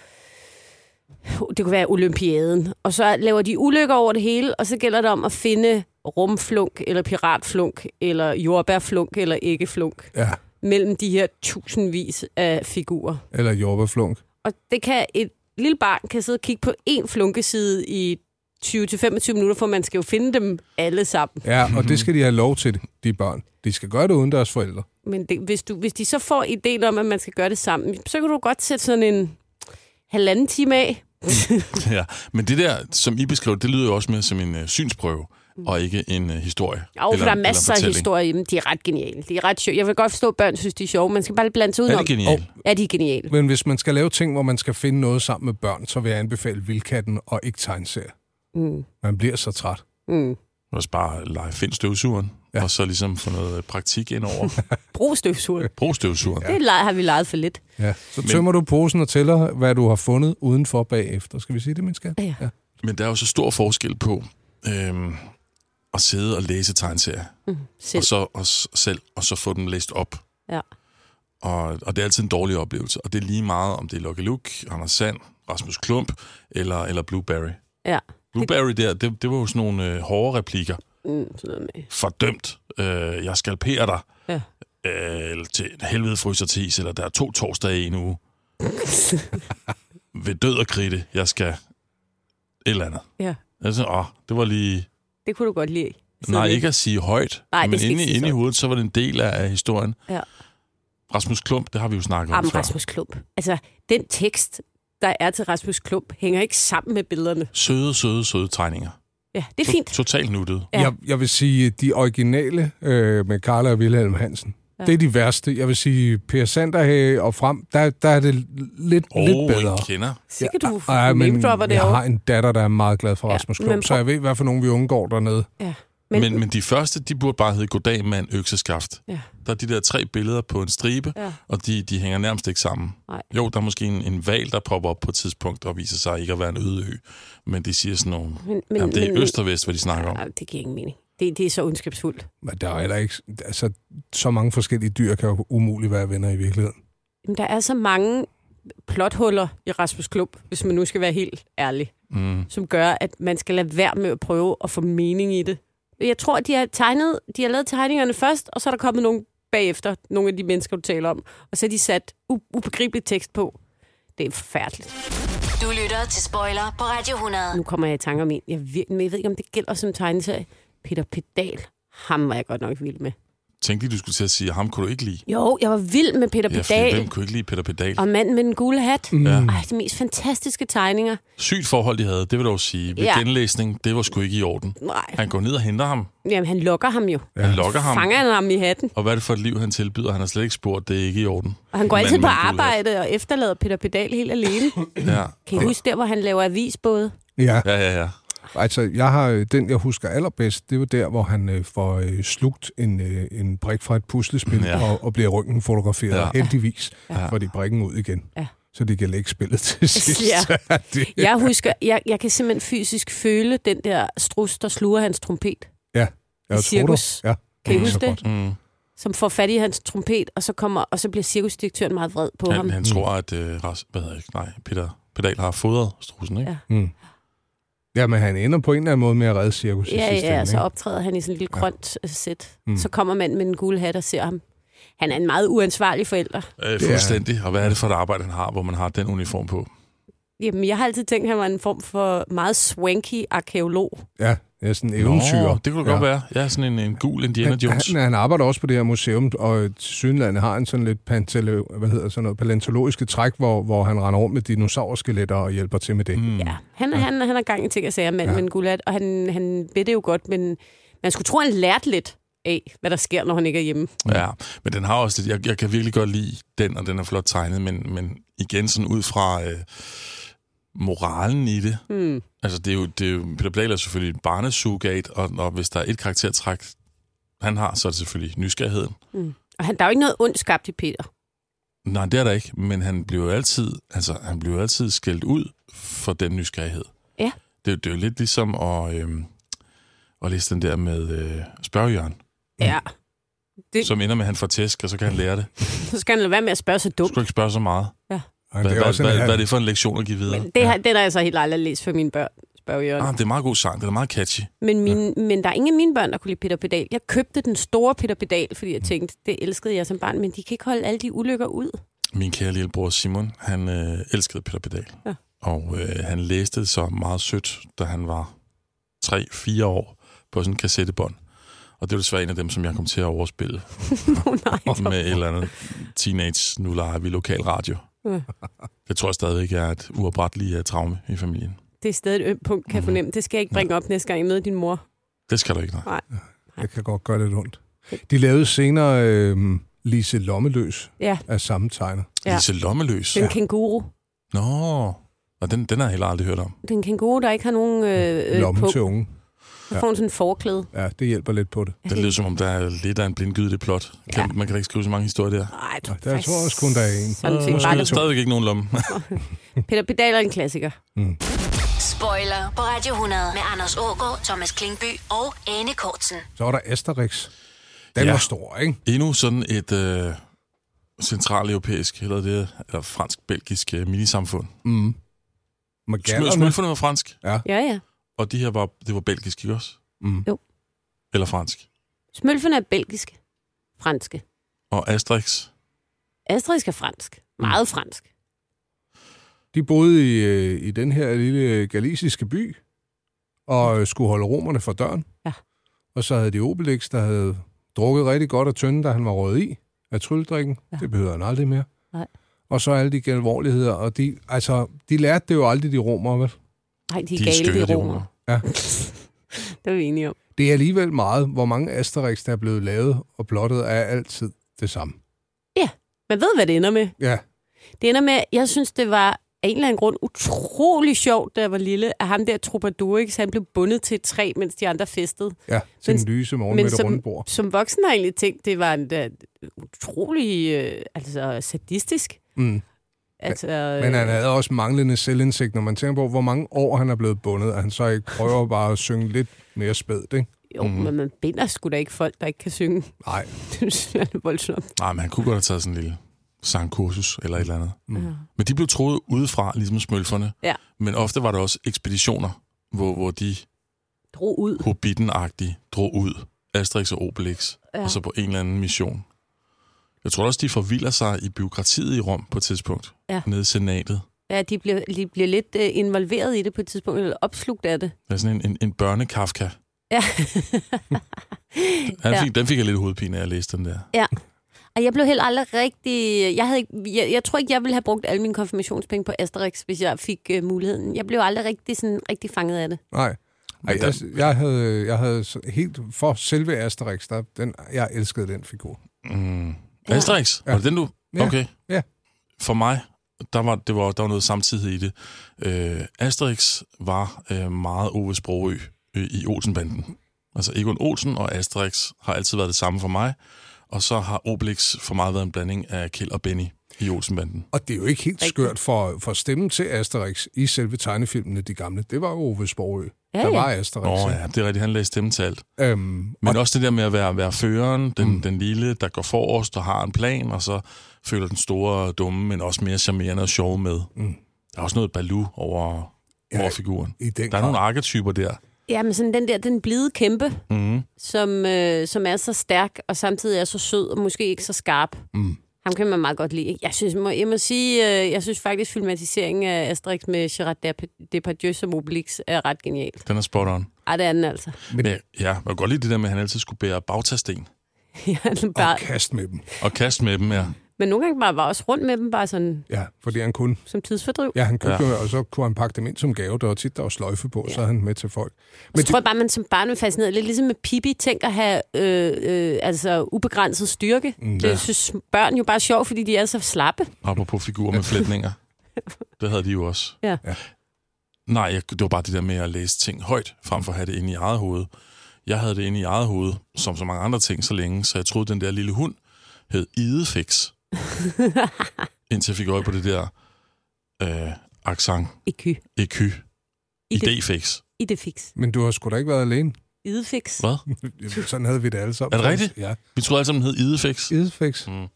[SPEAKER 3] det kunne være Olympiaden. Og så laver de ulykker over det hele, og så gælder det om at finde rumflunk, eller piratflunk, eller jordbærflunk, eller æggeflunk,
[SPEAKER 2] Ja,
[SPEAKER 3] mellem de her tusindvis af figurer.
[SPEAKER 2] eller jordbærflunk.
[SPEAKER 3] Og det kan et lille barn kan sidde og kigge på én flunkeside i 20-25 minutter, for man skal jo finde dem alle sammen.
[SPEAKER 2] Ja, og det skal de have lov til, de børn. De skal gøre det uden deres forældre.
[SPEAKER 3] Men det, hvis, du, hvis de så får ideen om, at man skal gøre det sammen, så kan du godt sætte sådan en halvanden time af.
[SPEAKER 4] ja. Men det der, som I beskrev, det lyder jo også mere som en øh, synsprøve, og ikke en øh, historie.
[SPEAKER 3] Og Mm. for der er
[SPEAKER 4] en
[SPEAKER 3] masser af
[SPEAKER 4] fortælling.
[SPEAKER 3] historier i dem. De er ret geniale. De er ret sjove. Jeg vil godt forstå, at børn synes, de er sjove. Man skal bare blande sig
[SPEAKER 4] Er de
[SPEAKER 3] udenom.
[SPEAKER 4] geniale?
[SPEAKER 3] Og- Ja, de er geniale.
[SPEAKER 2] Men hvis man skal lave ting, hvor man skal finde noget sammen med børn, så vil jeg anbefale Vildkatten og ikke tegneserier.
[SPEAKER 3] Mm.
[SPEAKER 2] Man bliver så træt.
[SPEAKER 3] Mm.
[SPEAKER 4] Også bare lege find støvsugeren, ja. og så ligesom få noget øh, praktik ind over.
[SPEAKER 3] Brug støvsugeren.
[SPEAKER 4] Brug støvsugeren.
[SPEAKER 3] Det le- har vi leget for lidt.
[SPEAKER 2] Ja. Så
[SPEAKER 4] Men-
[SPEAKER 2] tømmer du posen og tæller, hvad du har fundet udenfor bagefter. Skal vi sige det, min skat?
[SPEAKER 3] Ja.
[SPEAKER 4] Men der er jo så stor forskel på øhm, at sidde og læse tegneserier,
[SPEAKER 3] Mm. Selv.
[SPEAKER 4] og så og s- selv, og så få dem læst op.
[SPEAKER 3] Ja.
[SPEAKER 4] Og, og det er altid en dårlig oplevelse. Og det er lige meget, om det er Lucky Luke, Anders Sand, Rasmus Klump eller, eller Blueberry.
[SPEAKER 3] Ja.
[SPEAKER 4] Blueberry der, det, det var jo sådan nogle øh, hårde replikker.
[SPEAKER 3] Mm, sådan noget med.
[SPEAKER 4] Fordømt. Øh, jeg skalperer dig.
[SPEAKER 3] Ja.
[SPEAKER 4] Øh, eller til helvede fryser til is, eller der er to torsdage i en uge. Ved død og kridte, jeg skal et eller andet.
[SPEAKER 3] ja,
[SPEAKER 4] Altså, åh, det var lige...
[SPEAKER 3] det kunne du godt lide.
[SPEAKER 4] Nej,
[SPEAKER 3] lidt.
[SPEAKER 4] ikke at sige højt,
[SPEAKER 3] Nej, det
[SPEAKER 4] men
[SPEAKER 3] skal
[SPEAKER 4] inde,
[SPEAKER 3] ikke siges
[SPEAKER 4] inde i
[SPEAKER 3] højt.
[SPEAKER 4] hovedet, så var det en del af, af historien.
[SPEAKER 3] Ja.
[SPEAKER 4] Rasmus Klump, det har vi jo snakket om
[SPEAKER 3] Jamen,
[SPEAKER 4] før.
[SPEAKER 3] Rasmus Klump. Altså, den tekst, der er til Rasmus Klump, hænger ikke sammen med billederne.
[SPEAKER 4] Søde, søde, søde tegninger.
[SPEAKER 3] Ja, det er
[SPEAKER 4] To-
[SPEAKER 3] fint.
[SPEAKER 4] Totalt nuttet.
[SPEAKER 3] Ja.
[SPEAKER 2] Ja. Jeg, jeg vil sige, de originale øh, med Karla og Wilhelm Hansen,
[SPEAKER 3] Ja.
[SPEAKER 2] ja. det er de værste. Jeg vil sige, Per Sanderhage og frem, der, der er det l- lidt,
[SPEAKER 4] Åh,
[SPEAKER 2] oh, lidt bedre.
[SPEAKER 4] jeg kender.
[SPEAKER 3] Sikkert, du
[SPEAKER 2] Ej,
[SPEAKER 3] ja,
[SPEAKER 2] ah, men
[SPEAKER 3] name-dropper
[SPEAKER 2] jeg
[SPEAKER 3] derovre.
[SPEAKER 2] har en datter, der er meget glad for
[SPEAKER 3] Ja,
[SPEAKER 2] Rasmus
[SPEAKER 3] men
[SPEAKER 2] Klump, så
[SPEAKER 3] prøv-
[SPEAKER 2] jeg ved, hvad for nogen vi undgår dernede.
[SPEAKER 3] Ja.
[SPEAKER 4] Men, men, men de første, de burde bare hedde Goddag mand, økseskaft.
[SPEAKER 3] Ja.
[SPEAKER 4] Der er de der tre billeder på en stribe,
[SPEAKER 3] Ja.
[SPEAKER 4] og de, de hænger nærmest ikke sammen.
[SPEAKER 3] Nej.
[SPEAKER 4] Jo, der er måske en, en val, der popper op på et tidspunkt og viser sig ikke at være en øde ø. Men de siger sådan nogle...
[SPEAKER 3] Men, men,
[SPEAKER 4] Jamen, det er
[SPEAKER 3] men,
[SPEAKER 4] øst og vest, hvad de snakker om.
[SPEAKER 3] Nej, det giver ingen mening. Det, det er så ondskabsfuldt.
[SPEAKER 2] Men der er heller ikke... Altså, så mange forskellige dyr kan jo umuligt være venner i virkeligheden.
[SPEAKER 3] Jamen, der er så mange plothuller i Rasmus Klump, hvis man nu skal være helt ærlig,
[SPEAKER 4] Mm.
[SPEAKER 3] som gør, at man skal lade være med at prøve at få mening i det. Jeg tror, at de har, tegnet, de har lavet tegningerne først, og så er der kommet nogle bagefter, nogle af de mennesker, du taler om, og så har de sat u- ubegribelig tekst på. Det er forfærdeligt.
[SPEAKER 1] Du lytter til Spoiler på Radio 100.
[SPEAKER 3] Nu kommer jeg i tanke om en, jeg, vir- men jeg ved ikke, om det gælder som tegneserie. Peter Pedal. Ham var jeg godt nok vild med.
[SPEAKER 4] Tænkte lige, du skulle til at sige, at ham kunne du ikke lide.
[SPEAKER 3] Jo, jeg var vild med Peter
[SPEAKER 4] Ja, fordi
[SPEAKER 3] Pedal.
[SPEAKER 4] hvem kunne ikke lide Peter Pedal?
[SPEAKER 3] og manden med den gule hat. Mm.
[SPEAKER 2] Mm.
[SPEAKER 4] Ja.
[SPEAKER 3] Ej, de mest fantastiske tegninger.
[SPEAKER 4] Sygt forhold, de havde, det vil jeg dog sige.
[SPEAKER 3] Ja.
[SPEAKER 4] Ved ja. genlæsning, det var sgu ikke i orden.
[SPEAKER 3] Nej,
[SPEAKER 4] Han går ned og henter ham.
[SPEAKER 3] Jamen, han lokker ham jo.
[SPEAKER 4] Ja. Han lokker ham.
[SPEAKER 3] Fanger han ham i hatten.
[SPEAKER 4] Og hvad er det for et liv, han tilbyder? Han har slet ikke spurgt, det er ikke i orden.
[SPEAKER 3] Og han går
[SPEAKER 4] Manden
[SPEAKER 3] altid på
[SPEAKER 4] med en gul
[SPEAKER 3] arbejde og efterlader Peter Pedal helt alene.
[SPEAKER 4] Ja.
[SPEAKER 3] Kan I huske der, hvor han laver avisbåde?
[SPEAKER 2] Ja,
[SPEAKER 4] ja, ja, ja.
[SPEAKER 2] altså, jeg har, øh, den, jeg husker allerbedst, det var der, hvor han øh, får øh, slugt en, øh, en brik fra et puslespil
[SPEAKER 4] Ja.
[SPEAKER 2] ja. og, og bliver ryggen fotograferet.
[SPEAKER 4] Ja.
[SPEAKER 2] Ja. Heldigvis ja. får de brikken ud igen.
[SPEAKER 3] Ja.
[SPEAKER 2] Så de kan lægge spillet til sidst.
[SPEAKER 3] Ja.
[SPEAKER 2] det,
[SPEAKER 3] Jeg husker, jeg, jeg kan simpelthen fysisk føle den der strus, der sluger hans trompet,
[SPEAKER 2] jeg tror
[SPEAKER 3] cirkus.
[SPEAKER 2] dig. Ja.
[SPEAKER 3] Kan I
[SPEAKER 2] Mm.
[SPEAKER 3] huske
[SPEAKER 2] Så
[SPEAKER 3] det?
[SPEAKER 2] godt.
[SPEAKER 4] Mm.
[SPEAKER 3] som får fat i hans trompet, og så, kommer, og så bliver cirkusdirektøren meget vred på ham.
[SPEAKER 4] Han, han tror, at øh, Ras, hvad hedder jeg, nej, Peter Pedal har fodret strusen, ikke?
[SPEAKER 3] Ja.
[SPEAKER 4] Ja.
[SPEAKER 2] Mm. Jamen, han ender på en eller anden måde med at redde cirkus i
[SPEAKER 3] Ja,
[SPEAKER 2] sidste
[SPEAKER 3] ja,
[SPEAKER 2] ende,
[SPEAKER 3] og så
[SPEAKER 2] ikke?
[SPEAKER 3] optræder han i sådan et lille grønt øh, sæt.
[SPEAKER 2] Mm.
[SPEAKER 3] Så kommer manden med den gule hat og ser ham. Han er en meget uansvarlig forælder.
[SPEAKER 4] Øh,
[SPEAKER 2] er-
[SPEAKER 4] fuldstændig. Og hvad er det for et arbejde, han har, hvor man har den uniform på?
[SPEAKER 3] Jamen, jeg har altid tænkt, at han var en form for meget swanky arkeolog.
[SPEAKER 2] Ja, ja sådan en eventyr.
[SPEAKER 4] Nå, det kunne det
[SPEAKER 2] ja.
[SPEAKER 4] godt være. Ja, sådan en, en gul Indiana Jones.
[SPEAKER 2] Han, han arbejder også på det her museum, og Sydlandet har en sådan lidt pantalo, hvad hedder sådan noget, paleontologiske træk, hvor, hvor han render rundt med dinosaurskelletter og hjælper til med det.
[SPEAKER 4] Hmm.
[SPEAKER 2] Mm.
[SPEAKER 3] Ja, han, ja. Han, han har gang i ting at sige, manden ja. med en gulat, og han, han ved det jo godt, men man skulle tro, han lærte lidt. af, hvad der sker, når han ikke er hjemme.
[SPEAKER 4] Ja, men den har også lidt... Jeg, jeg kan virkelig godt lide den, og den er flot tegnet, men, men igen sådan ud fra øh, moralen i det.
[SPEAKER 3] Mm.
[SPEAKER 4] Altså, det er jo, det er jo, Peter Blake er selvfølgelig en barnesugat, og, og hvis der er et karaktertræk, han har, så er det selvfølgelig nysgerrigheden.
[SPEAKER 3] Mm. Og han, der er jo ikke noget ondt skabt i Peter.
[SPEAKER 4] Nej, det er der ikke, men han bliver jo altid, altså, han bliver jo altid skældt ud for den nysgerrighed.
[SPEAKER 3] Ja.
[SPEAKER 4] Det, er jo- det er jo lidt ligesom at, øh, at læse den der med øh, spørgjørn,
[SPEAKER 3] Ja. Det,
[SPEAKER 4] som ender med, at han får tæsk, og så kan han lære det.
[SPEAKER 3] så skal han lade være med at spørge så
[SPEAKER 4] Du
[SPEAKER 3] dumt.
[SPEAKER 4] skal ikke spørge så meget.
[SPEAKER 3] Ja.
[SPEAKER 2] Ej,
[SPEAKER 4] Hvad,
[SPEAKER 2] det er
[SPEAKER 4] hvad,
[SPEAKER 2] også en
[SPEAKER 4] hvad,
[SPEAKER 2] her-
[SPEAKER 4] hvad er det for en lektion at give videre?
[SPEAKER 3] Det, har, den har jeg så helt aldrig læst for mine børn, spørger Jørgen.
[SPEAKER 4] Ah, det er en meget god sang. Den er meget catchy.
[SPEAKER 3] Men, mine, ja. men der er ingen af mine børn, der kunne lide Peter Pedal. Jeg købte den store Peter Pedal, fordi jeg tænkte, det elskede jeg som barn, men de kan ikke holde alle de ulykker ud.
[SPEAKER 4] Min kære lille bror Simon, han øh, elskede Peter Pedal.
[SPEAKER 3] Ja.
[SPEAKER 4] Og øh, han læste det så meget sødt, da han var 3-4 år på sådan en kassettebånd. Og det var desværre en af dem, som jeg kom til at overspille med et eller andet teenage, nu leger vi lokal radio.
[SPEAKER 3] Ja.
[SPEAKER 4] Det tror jeg stadigvæk er et uopretteligt øh, traume i familien.
[SPEAKER 3] Det er stadig et ømt punkt, kan jeg fornemme. Det skal jeg ikke bringe op næste gang, jeg møder din mor.
[SPEAKER 4] Det skal du ikke, nej.
[SPEAKER 3] Nej.
[SPEAKER 2] Jeg kan godt gøre lidt ondt. De lavede senere øh, Lise Lommeløs
[SPEAKER 3] Ja,
[SPEAKER 2] af samme tegner.
[SPEAKER 3] Ja.
[SPEAKER 4] Ja. Lise Lommeløs.
[SPEAKER 3] den kænguru.
[SPEAKER 4] Nå, og den, den har jeg heller aldrig hørt om.
[SPEAKER 3] Den kænguru, der ikke har nogen øh, øh,
[SPEAKER 2] Lommen
[SPEAKER 3] punkt.
[SPEAKER 2] til unge.
[SPEAKER 3] Så får hun sådan en forklæde.
[SPEAKER 2] Ja, det hjælper lidt på det.
[SPEAKER 4] Det lyder som om, der er lidt af en blindgyde i det plot. Kan,
[SPEAKER 3] Ja.
[SPEAKER 4] Man kan da ikke skrive så mange historier der.
[SPEAKER 3] Nej, du
[SPEAKER 2] Der tror jeg også kun, der er en.
[SPEAKER 3] Sådan set
[SPEAKER 4] Måske er
[SPEAKER 3] bare
[SPEAKER 4] der
[SPEAKER 3] lidt.
[SPEAKER 4] stadigvæk ikke nogen lomme.
[SPEAKER 3] Peter Pedal er en klassiker.
[SPEAKER 1] Spoiler på Radio 100 med Anders Ågaard, Thomas Klingby og Anne Kortsen.
[SPEAKER 2] Så var der Asterix. Den ja.
[SPEAKER 4] Ja.
[SPEAKER 2] var stor, ikke?
[SPEAKER 4] Endnu sådan et øh, centraleuropæisk, eller det eller fransk-belgisk øh, minisamfund.
[SPEAKER 2] Mm.
[SPEAKER 4] Smø-
[SPEAKER 2] Magallerne.
[SPEAKER 4] Smølferne var fransk,
[SPEAKER 3] Ja, ja.
[SPEAKER 4] og de her var, det var belgisk, ikke også?
[SPEAKER 2] Mm.
[SPEAKER 3] Jo.
[SPEAKER 4] Eller fransk.
[SPEAKER 3] Smølferne er belgiske. Franske.
[SPEAKER 4] Og Asterix.
[SPEAKER 3] Asterix er fransk. Meget
[SPEAKER 2] Mm.
[SPEAKER 3] fransk.
[SPEAKER 2] De boede i, øh, i den her lille galiciske by, og øh, skulle holde romerne for døren.
[SPEAKER 3] Ja.
[SPEAKER 2] Og så havde de Obelix, der havde drukket rigtig godt og tynde, da han var røget i af trylledrikken. Ja.
[SPEAKER 3] Ja.
[SPEAKER 2] Det behøver han aldrig mere.
[SPEAKER 3] Nej.
[SPEAKER 2] Og så alle de galvorligheder, og de, altså, de lærte det jo aldrig, de romer, vel?
[SPEAKER 3] Nej, de er,
[SPEAKER 4] De er
[SPEAKER 3] gale,
[SPEAKER 4] skøre,
[SPEAKER 3] de
[SPEAKER 4] de
[SPEAKER 3] romer.
[SPEAKER 4] romer.
[SPEAKER 2] Ja.
[SPEAKER 3] det er vi enige om.
[SPEAKER 2] Det er alligevel meget, hvor mange Asterix, der er blevet lavet, og blottet er altid det samme.
[SPEAKER 3] Man ved, hvad det ender med.
[SPEAKER 2] Ja,
[SPEAKER 3] Det ender med, jeg synes, det var af en eller anden grund utrolig sjovt, da jeg var lille, at ham der Troubadourix, han blev bundet til et træ, mens de andre festede.
[SPEAKER 2] ja. Til
[SPEAKER 3] Men-
[SPEAKER 2] den lyse morgen
[SPEAKER 3] men
[SPEAKER 2] med det
[SPEAKER 3] som-
[SPEAKER 2] runde bord.
[SPEAKER 3] Som voksen har jeg egentlig tænkt, det var en da, utrolig øh, altså, sadistisk.
[SPEAKER 2] Mm.
[SPEAKER 3] Altså,
[SPEAKER 2] Men han havde også manglende selvindsigt, når man tænker på, hvor mange år han er blevet bundet, at han så ikke prøver bare at synge lidt mere spædt, ikke?
[SPEAKER 3] øh, Jo, men man binder sgu da ikke folk, der ikke kan synge.
[SPEAKER 2] Mhm. Nej.
[SPEAKER 3] Det synes jeg er voldsomt.
[SPEAKER 4] Nej, men han kunne godt have taget sådan en lille sangkursus eller et eller andet.
[SPEAKER 2] Mm.
[SPEAKER 3] Ja.
[SPEAKER 4] Men de blev troet udefra, ligesom smølferne.
[SPEAKER 3] Ja.
[SPEAKER 4] Men ofte var der også ekspeditioner, hvor, hvor de
[SPEAKER 3] Drog ud.
[SPEAKER 4] hobbiten drog ud. Asterix og Obelix.
[SPEAKER 3] Ja.
[SPEAKER 4] Ja. Og så på en eller anden mission. Jeg tror også, de forvilder sig i byråkratiet i Rom på et tidspunkt.
[SPEAKER 3] Ja.
[SPEAKER 4] Nede i senatet.
[SPEAKER 3] Ja, de bliver, de bliver lidt øh, involveret i det på et tidspunkt, eller opslugt af det.
[SPEAKER 4] Der er sådan en, en, en børnekafka.
[SPEAKER 3] Ja.
[SPEAKER 4] Han
[SPEAKER 3] Ja.
[SPEAKER 4] fik, Den fik jeg lidt hovedpine af at læse den der.
[SPEAKER 3] Og jeg blev helt aldrig rigtig... øh, Jeg, havde, ikke- jeg, jeg tror ikke, jeg ville have brugt alle mine konfirmationspenge på Asterix, hvis jeg fik øh, muligheden. Jeg blev aldrig rigtig, sådan, rigtig fanget af det.
[SPEAKER 2] Nej. Ej,
[SPEAKER 4] Men
[SPEAKER 2] jeg,
[SPEAKER 4] der-
[SPEAKER 2] jeg, havde, jeg havde så- helt for selve Asterix, der, den, jeg elskede den figur.
[SPEAKER 4] Mm.
[SPEAKER 3] Ja.
[SPEAKER 4] Ja. Asterix?
[SPEAKER 2] Ja.
[SPEAKER 4] Ja. Var det den, du...
[SPEAKER 2] Ja.
[SPEAKER 4] Okay.
[SPEAKER 2] Ja.
[SPEAKER 4] For mig, der var, det var, der var noget samtidig i det. Øh, Asterix var øh, meget Ove Sprogø øh, i Olsenbanden. Altså Egon Olsen og Asterix har altid været det samme for mig. Og så har Obelix for mig været en blanding af Kjeld og Benny i Olsenbanden.
[SPEAKER 2] Og det er jo ikke helt
[SPEAKER 3] Rigtigt.
[SPEAKER 2] skørt for, for stemmen til Asterix i selve tegnefilmene, de gamle. Det var jo Ove Sprogø,
[SPEAKER 3] Ja,
[SPEAKER 2] der
[SPEAKER 3] ja.
[SPEAKER 2] var Asterix.
[SPEAKER 4] Åh oh, ja, det er rigtigt, han lagde stemme til alt.
[SPEAKER 2] ja. øhm, og,
[SPEAKER 4] Men også det der med at være, være føreren, den, mm. den lille, der går forrest og har en plan, og så føler den store og dumme, men også mere charmerende og sjove med.
[SPEAKER 2] Mm.
[SPEAKER 4] Der er også noget balu over,
[SPEAKER 2] Ja,
[SPEAKER 4] ja, over figuren.
[SPEAKER 2] i den
[SPEAKER 4] Der er nogle
[SPEAKER 2] grad.
[SPEAKER 4] arketyper der.
[SPEAKER 3] Jamen sådan den der, den blide kæmpe,
[SPEAKER 4] Mm.
[SPEAKER 3] som, øh, som er så stærk, og samtidig er så sød, og måske ikke så skarp.
[SPEAKER 2] Mm.
[SPEAKER 3] Ham kan man meget godt lide. Jeg synes, må, jeg må sige, øh, jeg synes faktisk, filmatiseringen af Asterix med Gerard Dep- Depardieu som Obelix er ret genial.
[SPEAKER 4] Den er spot on.
[SPEAKER 3] Ej, det er den altså.
[SPEAKER 2] Men-
[SPEAKER 4] Men, ja, jeg kan godt lide det der med, at han altid skulle bære bagtasten
[SPEAKER 3] Jeg er
[SPEAKER 2] og
[SPEAKER 3] bare,
[SPEAKER 2] kast med dem.
[SPEAKER 4] og kaste med dem, ja.
[SPEAKER 3] Men nogle gange bare var også rundt med dem, bare sådan
[SPEAKER 2] Ja, fordi han kunne.
[SPEAKER 3] som tidsfordriv.
[SPEAKER 2] Ja, han
[SPEAKER 3] kunne.
[SPEAKER 2] købte ja. og så kunne han pakke dem ind som gave. Der var tit, der var sløjfe på, ja. så havde han med til folk.
[SPEAKER 3] Men så tror jeg bare, man som barn er fascineret. Lidt ligesom med Pippi, tænker at have øh, øh, altså ubegrænset styrke.
[SPEAKER 4] Mm,
[SPEAKER 3] Mm,
[SPEAKER 4] ja.
[SPEAKER 3] det synes børn jo bare er sjovt, fordi de er så slappe.
[SPEAKER 4] Apropos figurer med flætninger. Det havde de jo også.
[SPEAKER 3] Ja.
[SPEAKER 2] ja.
[SPEAKER 4] Nej, jeg, det var bare det der med at læse ting højt, frem for at have det inde i eget hoved. Jeg havde det inde i eget hoved, som så mange andre ting så længe, så jeg troede, den der lille hund hed Idefix. Indtil jeg fik øje på det der øh, accent.
[SPEAKER 3] Eky.
[SPEAKER 4] Eky.
[SPEAKER 3] Ide-
[SPEAKER 4] Idefix.
[SPEAKER 3] I det fix.
[SPEAKER 2] Men du har sgu da ikke været alene.
[SPEAKER 3] Idefix.
[SPEAKER 4] Hvad?
[SPEAKER 2] Jamen, Sådan havde vi det alle sammen.
[SPEAKER 4] Er det rigtigt?
[SPEAKER 2] Ja.
[SPEAKER 4] Vi troede alle sammen, den hed Idefix.
[SPEAKER 2] Idefix.
[SPEAKER 4] Mm.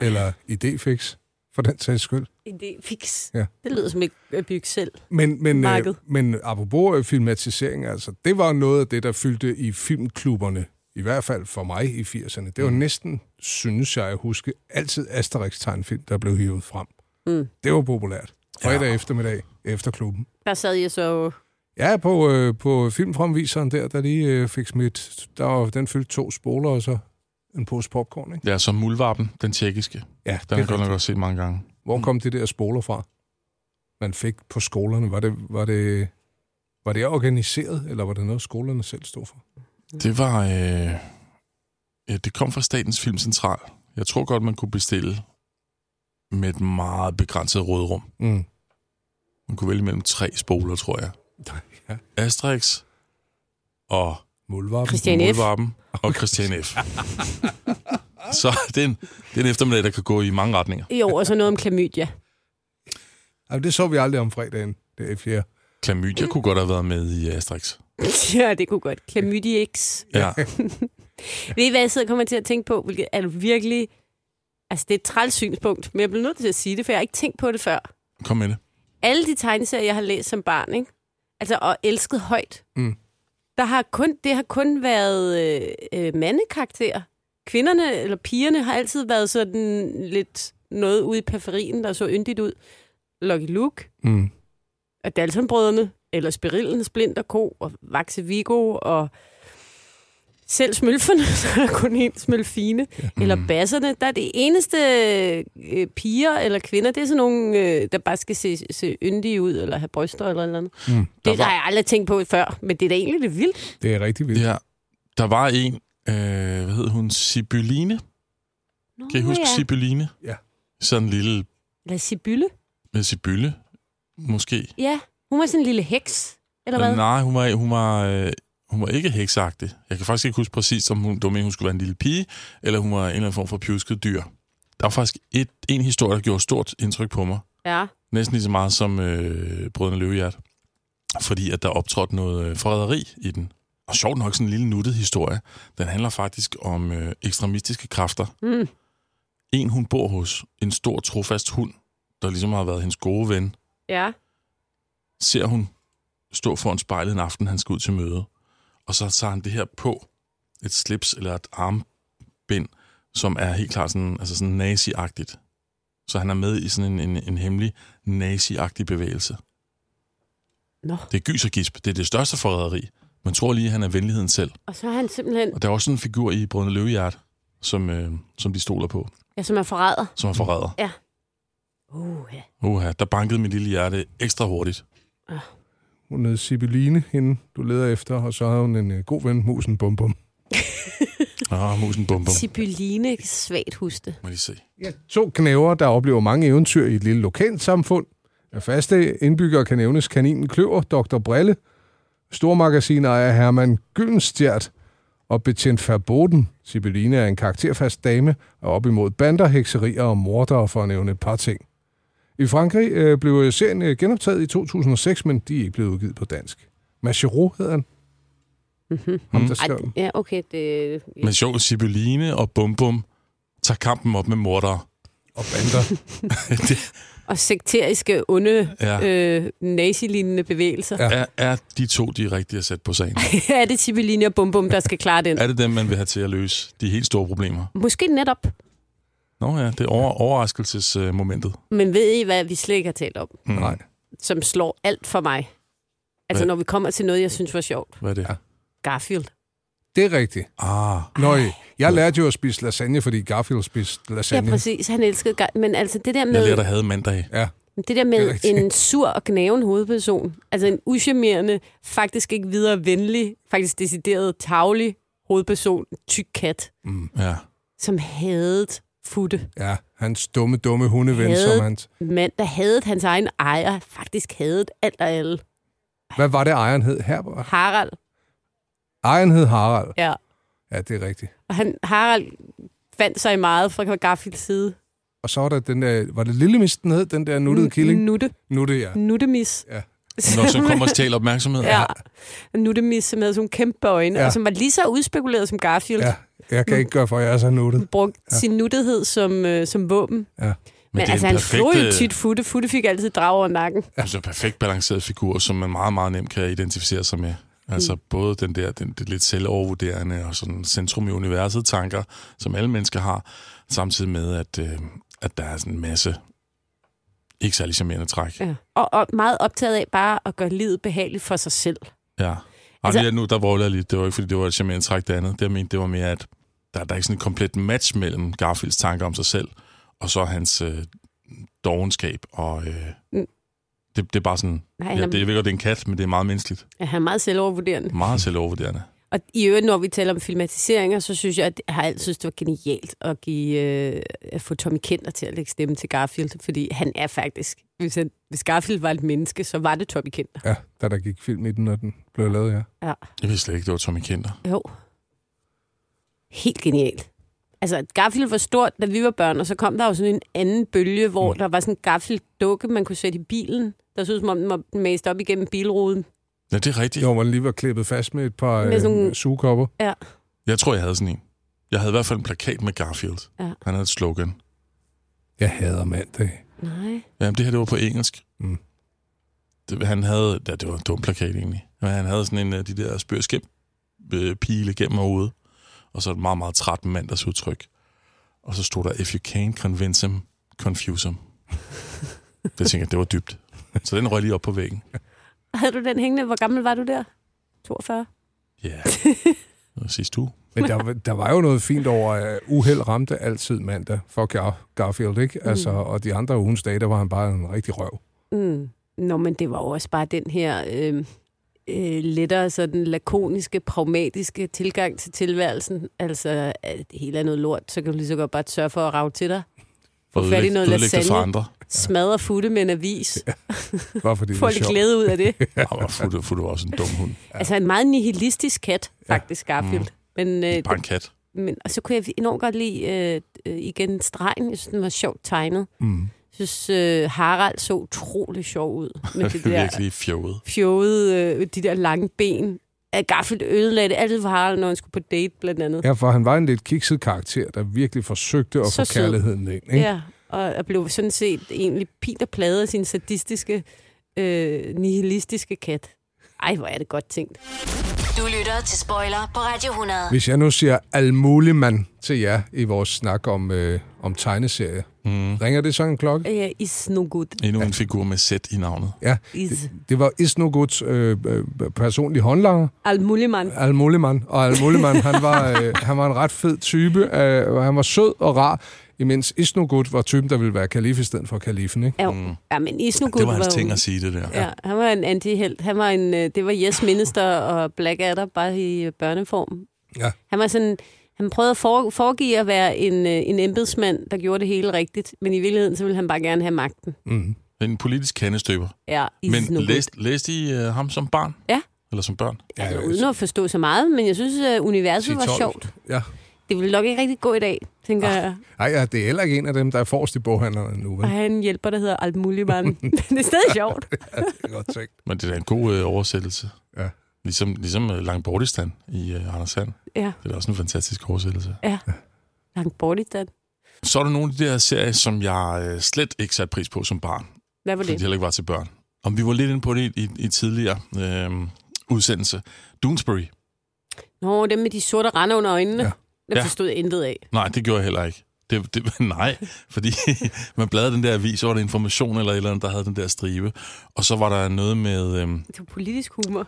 [SPEAKER 2] Eller idéfix, for den sags skyld.
[SPEAKER 3] Idefix.
[SPEAKER 2] Ja.
[SPEAKER 3] Det lyder som et bygge selv.
[SPEAKER 2] Men, men, øh,
[SPEAKER 3] Marked.
[SPEAKER 2] men apropos øh, filmatisering, altså, det var noget af det, der fyldte i filmklubberne, i hvert fald for mig i 80'erne. Det var mm. næsten, synes jeg at huske, altid Asterix-tegnfilm, der blev hivet frem.
[SPEAKER 3] Mm.
[SPEAKER 2] Det var populært. Fredag ja. eftermiddag efter klubben.
[SPEAKER 3] Der sad jeg så...
[SPEAKER 2] Ja, på, øh, på filmfremviseren der, der lige øh, fik smidt, der var, den fyldte to spoler og så en pose popcorn, ikke?
[SPEAKER 4] Ja, som Muldvarpen, den tjekkiske.
[SPEAKER 2] Ja, det er
[SPEAKER 4] den har jeg godt
[SPEAKER 2] rigtigt.
[SPEAKER 4] nok Mm. også set mange gange.
[SPEAKER 2] Hvor kom de der spoler fra, man fik på skolerne? Var det, var det, var det organiseret, eller var det noget, skolerne selv stod for?
[SPEAKER 4] Det var... Øh, ja, det kom fra Statens Filmcentral. Jeg tror godt, man kunne bestille med et meget begrænset rådrum.
[SPEAKER 2] Mm.
[SPEAKER 4] Man kunne vælge mellem tre spoler, tror jeg.
[SPEAKER 2] Ja.
[SPEAKER 4] Asterix og
[SPEAKER 2] Muldvarpen.
[SPEAKER 3] Christian F.
[SPEAKER 4] Muldvarpen og Christian F. Så det er, en, det er en eftermiddag, der kan gå i mange retninger.
[SPEAKER 3] Jo, og så noget om klamydia.
[SPEAKER 2] Jamen, det så vi aldrig om fredagen, det er fjerde.
[SPEAKER 4] Klamydia kunne godt have været med i Asterix.
[SPEAKER 3] ja, det kunne godt. Klamydiex.
[SPEAKER 4] Ja.
[SPEAKER 3] Ved I, hvad jeg sidder og kommer til at tænke på? Hvilket er virkelig... Altså, det er et træls synspunkt, men jeg bliver nødt til at sige det, for jeg har ikke tænkt på det før.
[SPEAKER 4] Kom med det.
[SPEAKER 3] Alle de tegneserier, jeg har læst som barn, ikke? Altså, og elsket højt.
[SPEAKER 2] Mm.
[SPEAKER 3] Der har kun, det har kun været øh, øh, mandekarakterer. Kvinderne eller pigerne har altid været sådan lidt noget ude i periferien, der så yndigt ud. Lucky Luke,
[SPEAKER 2] Mm.
[SPEAKER 3] og Dalton-brødrene, eller Spirillen, Splint og Ko, og Vaxe Vigo, og selv smølferne, så er der kun én smølfine, ja. eller
[SPEAKER 4] Mm.
[SPEAKER 3] basserne. Der er det eneste øh, piger eller kvinder, det er sådan nogle, øh, der bare skal se, se yndige ud, eller have bryster eller noget andet.
[SPEAKER 2] Mm.
[SPEAKER 3] Det har jeg aldrig tænkt på før, men det er da egentlig lidt vildt.
[SPEAKER 2] Det er rigtig vildt.
[SPEAKER 4] Ja, der var en, øh, hvad hed hun, Sibyline?
[SPEAKER 3] Nå,
[SPEAKER 4] Kan I huske ja. Sibyline?
[SPEAKER 2] Ja.
[SPEAKER 4] Sådan en lille
[SPEAKER 3] Eller Sibylle.
[SPEAKER 4] med Sibylle, måske.
[SPEAKER 3] Ja, hun var sådan en lille heks, eller hvad?
[SPEAKER 4] Nej, hun var, hun var, øh, hun var ikke heksagtig. Jeg kan faktisk ikke huske præcis, om hun, det var meningen, hun skulle være en lille pige, eller hun var en eller anden form for pjusket dyr. Der var faktisk et, en historie, der gjorde stort indtryk på mig.
[SPEAKER 3] Ja.
[SPEAKER 4] Næsten lige så meget som øh, Brødrene Løvehjert. Fordi at der optrådte noget øh, forræderi i den. Og sjovt nok sådan en lille nuttet historie. Den handler faktisk om øh, ekstremistiske kræfter.
[SPEAKER 3] Mm.
[SPEAKER 4] En, hun bor hos, en stor trofast hund, der ligesom har været hendes gode ven,
[SPEAKER 3] Ja.
[SPEAKER 4] ser hun stå foran spejlet en aften, han skal ud til møde. Og så tager han det her på, et slips eller et armbind, som er helt klart sådan, altså sådan nazi-agtigt. Så han er med i sådan en, en, en hemmelig nazi-agtig bevægelse.
[SPEAKER 3] Nå,
[SPEAKER 4] Det er gys og gisp. Det er det største forræderi. Man tror lige, at han er venligheden selv.
[SPEAKER 3] og så er han simpelthen,
[SPEAKER 4] Og der er også sådan en figur i Brødende Løvehjert, som, øh, som de stoler på,
[SPEAKER 3] ja, som er forræder.
[SPEAKER 4] som er forræder.
[SPEAKER 3] Ja. Uh, ja.
[SPEAKER 4] Uha, der bankede mit lille hjerte ekstra hurtigt.
[SPEAKER 2] Hun hed Sibyline, hende du leder efter, og så havde hun en øh, god ven, musen Bum Bum.
[SPEAKER 4] Ah, musen bum bum.
[SPEAKER 3] Sibyline, svagt huste.
[SPEAKER 4] Må lige se.
[SPEAKER 2] To knæver, der oplever mange eventyr i et lille lokalt samfund. Af faste indbyggere kan nævnes kaninen Kløver, Dr. Brille, stormagasinejer Herman Gyllenstjert og betjent Verboten. Sibyline er en karakterfast dame og op imod bander, hekserier og mordere for at nævne et par ting. I Frankrig øh, blev serien øh, genoptaget i 2006, men de er ikke blevet udgivet på dansk. Machereau hedder han. Mm-hmm. Ham, der
[SPEAKER 3] Mm. Ej,
[SPEAKER 2] skrev den.
[SPEAKER 3] ja, okay, det...
[SPEAKER 4] Men sjovt, Sibyline og Bum Bum tager kampen op med mordere.
[SPEAKER 2] og bander.
[SPEAKER 3] og sekteriske, onde,
[SPEAKER 4] Ja.
[SPEAKER 3] ja. øh, nazilignende bevægelser.
[SPEAKER 2] Ja.
[SPEAKER 3] Ja.
[SPEAKER 4] Er, er de to de rigtige at sætte på sagen?
[SPEAKER 3] er det Tibeline og Bum Bum, der skal klare den?
[SPEAKER 4] er det dem, man vil have til at løse de helt store problemer?
[SPEAKER 3] Måske netop.
[SPEAKER 4] Nå ja, det er over, overraskelsesmomentet.
[SPEAKER 3] Men ved I, hvad vi slet ikke har talt om?
[SPEAKER 4] Mm.
[SPEAKER 2] Nej.
[SPEAKER 3] Som slår alt for mig. Altså,
[SPEAKER 4] Hvad?
[SPEAKER 3] når vi kommer til noget, jeg synes var sjovt.
[SPEAKER 4] Hvad er det? Ja.
[SPEAKER 3] Garfield.
[SPEAKER 2] Det er rigtigt.
[SPEAKER 4] Ah.
[SPEAKER 2] Nøj, jeg lærte jo at spise lasagne, fordi Garfield spiste lasagne.
[SPEAKER 3] Ja, præcis. Han elskede... gar- Men altså, det der med...
[SPEAKER 4] Jeg lærte at have mandag.
[SPEAKER 2] Ja.
[SPEAKER 3] Det der
[SPEAKER 2] Det er
[SPEAKER 3] med
[SPEAKER 2] rigtigt.
[SPEAKER 3] en sur og gnaven hovedperson, altså en uschammerende, faktisk ikke videre venlig, faktisk decideret tavlig hovedperson, tyk kat,
[SPEAKER 2] Mm.
[SPEAKER 4] Ja.
[SPEAKER 3] som hadet Futte.
[SPEAKER 2] Ja, hans dumme, dumme hundeven, som han...
[SPEAKER 3] Hadet mand, der hadet hans egen ejer, faktisk hadet alt og alle.
[SPEAKER 2] Hvad var det, ejeren hed? Herbert?
[SPEAKER 3] Harald,
[SPEAKER 2] Ejeren hed Harald.
[SPEAKER 3] ja.
[SPEAKER 2] Ja, det er rigtigt.
[SPEAKER 3] Og han, Harald fandt sig i meget fra Garfields side.
[SPEAKER 2] Og så var der den der... Var det lille misten hed, den der nuttede killing?
[SPEAKER 3] Nutte.
[SPEAKER 2] Nutte, ja.
[SPEAKER 3] Nuttemis.
[SPEAKER 2] Ja.
[SPEAKER 4] Når så kommer og stjæler opmærksomhed.
[SPEAKER 3] Ja. Nuttemis, som havde sådan nogle kæmpe øjne,
[SPEAKER 2] Ja.
[SPEAKER 3] ja. og som var lige så udspekuleret som Garfield.
[SPEAKER 2] ja. Jeg kan ikke gøre for, at jeg er så nuttet.
[SPEAKER 3] brugt ja. sin nuttethed som, øh, som våben.
[SPEAKER 2] Ja. Men
[SPEAKER 3] Men,
[SPEAKER 4] det
[SPEAKER 3] Men
[SPEAKER 4] er
[SPEAKER 3] altså,
[SPEAKER 4] en
[SPEAKER 3] han
[SPEAKER 4] perfekt,
[SPEAKER 3] slog jo
[SPEAKER 4] øh,
[SPEAKER 3] tit Futte. Futte fik altid drag over nakken.
[SPEAKER 4] Ja. Så en Altså, perfekt balanceret figur, som man meget, meget nemt kan identificere sig med. Altså mm. både den der, den, det lidt selvovervurderende og sådan centrum i universet tanker, som alle mennesker har, samtidig med, at, øh, at der er sådan en masse ikke særlig charmerende træk. Ja.
[SPEAKER 3] Ja. Og, og meget optaget af bare at gøre livet behageligt for sig selv.
[SPEAKER 4] ja. Altså,
[SPEAKER 3] Altså-
[SPEAKER 4] Ej, nu, der vrøvler jeg lidt. Det var ikke, fordi det var et charmerende træk, det andet. Det, jeg mente, det var mere, at der, der er ikke sådan et komplet match mellem Garfields tanker om sig selv, og så hans øh, dogenskab. Og øh,
[SPEAKER 3] Mm.
[SPEAKER 4] mm. det, det er bare sådan...
[SPEAKER 3] Nej,
[SPEAKER 4] Nej,
[SPEAKER 3] han
[SPEAKER 4] ja,
[SPEAKER 3] er-
[SPEAKER 4] det, jeg ved godt, det er en kat, men det er meget menneskeligt.
[SPEAKER 3] Ja, han er meget selvovervurderende.
[SPEAKER 4] Meget selvovervurderende.
[SPEAKER 3] Og i øvrigt, når vi taler om filmatiseringer, så synes jeg, at jeg har altid synes, det var genialt at, give, øh, at få Tommy Kenter til at lægge stemme til Garfield, fordi han er faktisk... Hvis, han, hvis Garfield var et menneske, så var det Tommy Kenter.
[SPEAKER 2] Ja, da der gik film i den, når den blev lavet, ja.
[SPEAKER 3] Ja.
[SPEAKER 4] Jeg vidste slet ikke, det var Tommy Kenter.
[SPEAKER 3] Jo. Helt genialt. Altså, Garfield var stort, da vi var børn, og så kom der jo sådan en anden bølge, hvor der var sådan en Garfield-dukke, man kunne sætte i bilen. Der så ud, som om den var mast op igennem bilruden.
[SPEAKER 4] Ja, det er rigtigt.
[SPEAKER 2] Jo, hvor den lige var klippet fast med et par
[SPEAKER 3] Med
[SPEAKER 2] øh,
[SPEAKER 3] sådan nogle-
[SPEAKER 2] sugekopper.
[SPEAKER 3] Ja.
[SPEAKER 4] Jeg tror, jeg havde sådan en. Jeg havde i hvert fald en plakat med Garfield.
[SPEAKER 3] Ja.
[SPEAKER 4] Han havde et slogan.
[SPEAKER 2] Jeg hader mandag.
[SPEAKER 3] Nej.
[SPEAKER 4] Jamen, det her, det var på engelsk.
[SPEAKER 2] Mm.
[SPEAKER 4] Det, han havde... Ja, det var en dum plakat, egentlig. Men han havde sådan en af de der spørgskæm øh, pile gennem hovedet. Og så et meget, meget træt mandagsudtryk. Og så stod der, if you can't convince him, confuse him. det tænker jeg, det var dybt. Så den røg lige op på væggen.
[SPEAKER 3] Havde du den hængende? Hvor gammel var du der? 42?
[SPEAKER 4] Ja. Yeah. Det var sidste uge.
[SPEAKER 2] Men der, var- der var jo noget fint over, at uheld ramte altid mandag for Gar- Garfield, ikke? Altså, og de andre ugens dage, der var han bare en rigtig røv.
[SPEAKER 3] Mm. Nå, men det var jo også bare den her øh, øh, lettere sådan lakoniske, pragmatiske tilgang til tilværelsen. Altså, at det hele er noget lort, så kan du lige så godt bare sørge for at rave til dig.
[SPEAKER 4] For
[SPEAKER 3] Få fat i noget
[SPEAKER 4] det for
[SPEAKER 3] lasagne.
[SPEAKER 4] andre.
[SPEAKER 3] Smadre futte med en avis.
[SPEAKER 2] Bare fordi det
[SPEAKER 3] Få
[SPEAKER 2] var
[SPEAKER 3] lidt
[SPEAKER 2] sjovt.
[SPEAKER 3] glæde ud af det.
[SPEAKER 4] Ja, men Futte, Futte var også en dum hund.
[SPEAKER 3] Ja. Altså en meget nihilistisk kat, faktisk, Garfield. Mm. Men, øh,
[SPEAKER 4] Bare en kat.
[SPEAKER 3] men, og så kunne jeg enormt godt lide øh, øh, igen stregen. Jeg synes, den var sjovt tegnet.
[SPEAKER 2] Mm.
[SPEAKER 3] Jeg synes, øh, Harald så utrolig sjov ud med det
[SPEAKER 4] Det er
[SPEAKER 3] der
[SPEAKER 4] virkelig fjollet.
[SPEAKER 3] fjode, øh, de der lange ben. At Garfield ødelagde det altid for Harald, når han skulle på date, blandt andet.
[SPEAKER 2] Ja, for han var en lidt kikset karakter, der virkelig forsøgte at
[SPEAKER 3] Så
[SPEAKER 2] få
[SPEAKER 3] sød.
[SPEAKER 2] kærligheden ind, ikke?
[SPEAKER 3] ja og, og blev sådan set egentlig pint og pladet af sin sadistiske, øh, nihilistiske kat. Ej, hvor er det godt tænkt.
[SPEAKER 1] Du lytter til Spoiler på Radio 100.
[SPEAKER 2] Hvis jeg nu siger almuligmand til jer i vores snak om, øh, om tegneserie,
[SPEAKER 4] Mm.
[SPEAKER 2] ringer det så en klokke?
[SPEAKER 3] Ja, is no good.
[SPEAKER 4] Endnu en figur med sæt i navnet.
[SPEAKER 2] Ja,
[SPEAKER 3] Is
[SPEAKER 2] det var Isnoguts øh, øh, personlige håndlanger,
[SPEAKER 3] al mulig mand.
[SPEAKER 2] Almulemann. Og Almulemann, han var, øh, han var en ret fed type. Øh, han var sød og rar, imens Isnogut var typen, der ville være kalif i stedet for kalifen. Ikke?
[SPEAKER 3] Ja, mm. ja men Isnogut
[SPEAKER 4] Det var hans
[SPEAKER 3] jo-
[SPEAKER 4] ting at sige, det der.
[SPEAKER 3] Ja, han var en antihelt. Han var en, øh, det var Yes Minister og Blackadder, bare i øh, børneform.
[SPEAKER 2] Ja.
[SPEAKER 3] Han var sådan, han prøvede at for, foregive at være en, øh, en embedsmand, der gjorde det hele rigtigt, men i virkeligheden, så ville han bare gerne have magten.
[SPEAKER 2] Mm.
[SPEAKER 4] En politisk kandestøber.
[SPEAKER 3] Ja,
[SPEAKER 4] Men
[SPEAKER 3] Isnogut.
[SPEAKER 4] læste, læste I uh, ham som barn?
[SPEAKER 3] Ja.
[SPEAKER 4] Eller som børn?
[SPEAKER 2] Ja,
[SPEAKER 3] Altså, uden at forstå så meget, men jeg synes, at universet var
[SPEAKER 2] 10-12.
[SPEAKER 3] sjovt.
[SPEAKER 2] Ja.
[SPEAKER 3] Det ville nok ikke rigtig gå i dag, tænker ah. jeg.
[SPEAKER 2] Ej, ja, det er heller ikke en af dem, der er forrest i boghandlerne nu.
[SPEAKER 3] Og
[SPEAKER 2] Vel?
[SPEAKER 3] have en hjælper, der hedder Alt Muligmann. men det er stadig sjovt.
[SPEAKER 2] Ja, det er godt tænkt.
[SPEAKER 4] Men det er da en god uh, oversættelse.
[SPEAKER 2] Ja.
[SPEAKER 4] Ligesom, ligesom uh, Langbortistan i uh, Anders Sand.
[SPEAKER 3] Ja,
[SPEAKER 4] Det er da også en fantastisk oversættelse.
[SPEAKER 3] langt bort i den.
[SPEAKER 4] Så er der nogle af de der serier, som jeg uh, slet ikke satte pris på som barn.
[SPEAKER 3] Hvad var
[SPEAKER 4] Fordi det
[SPEAKER 3] det?
[SPEAKER 4] heller ikke var til børn. Om vi var lidt inde på det i, i, i tidligere øh, udsendelse. Doonesbury.
[SPEAKER 3] Nå, dem med de sorte rande under øjnene.
[SPEAKER 2] Ja.
[SPEAKER 3] Ja. Det
[SPEAKER 4] Ja.
[SPEAKER 3] forstod jeg intet af.
[SPEAKER 4] Nej, det gjorde jeg heller ikke. Det, det, nej, fordi man bladrede den der avis, så var det information eller et eller andet, der havde den der stribe. Og så var der noget med... Øhm,
[SPEAKER 3] Det var politisk humor.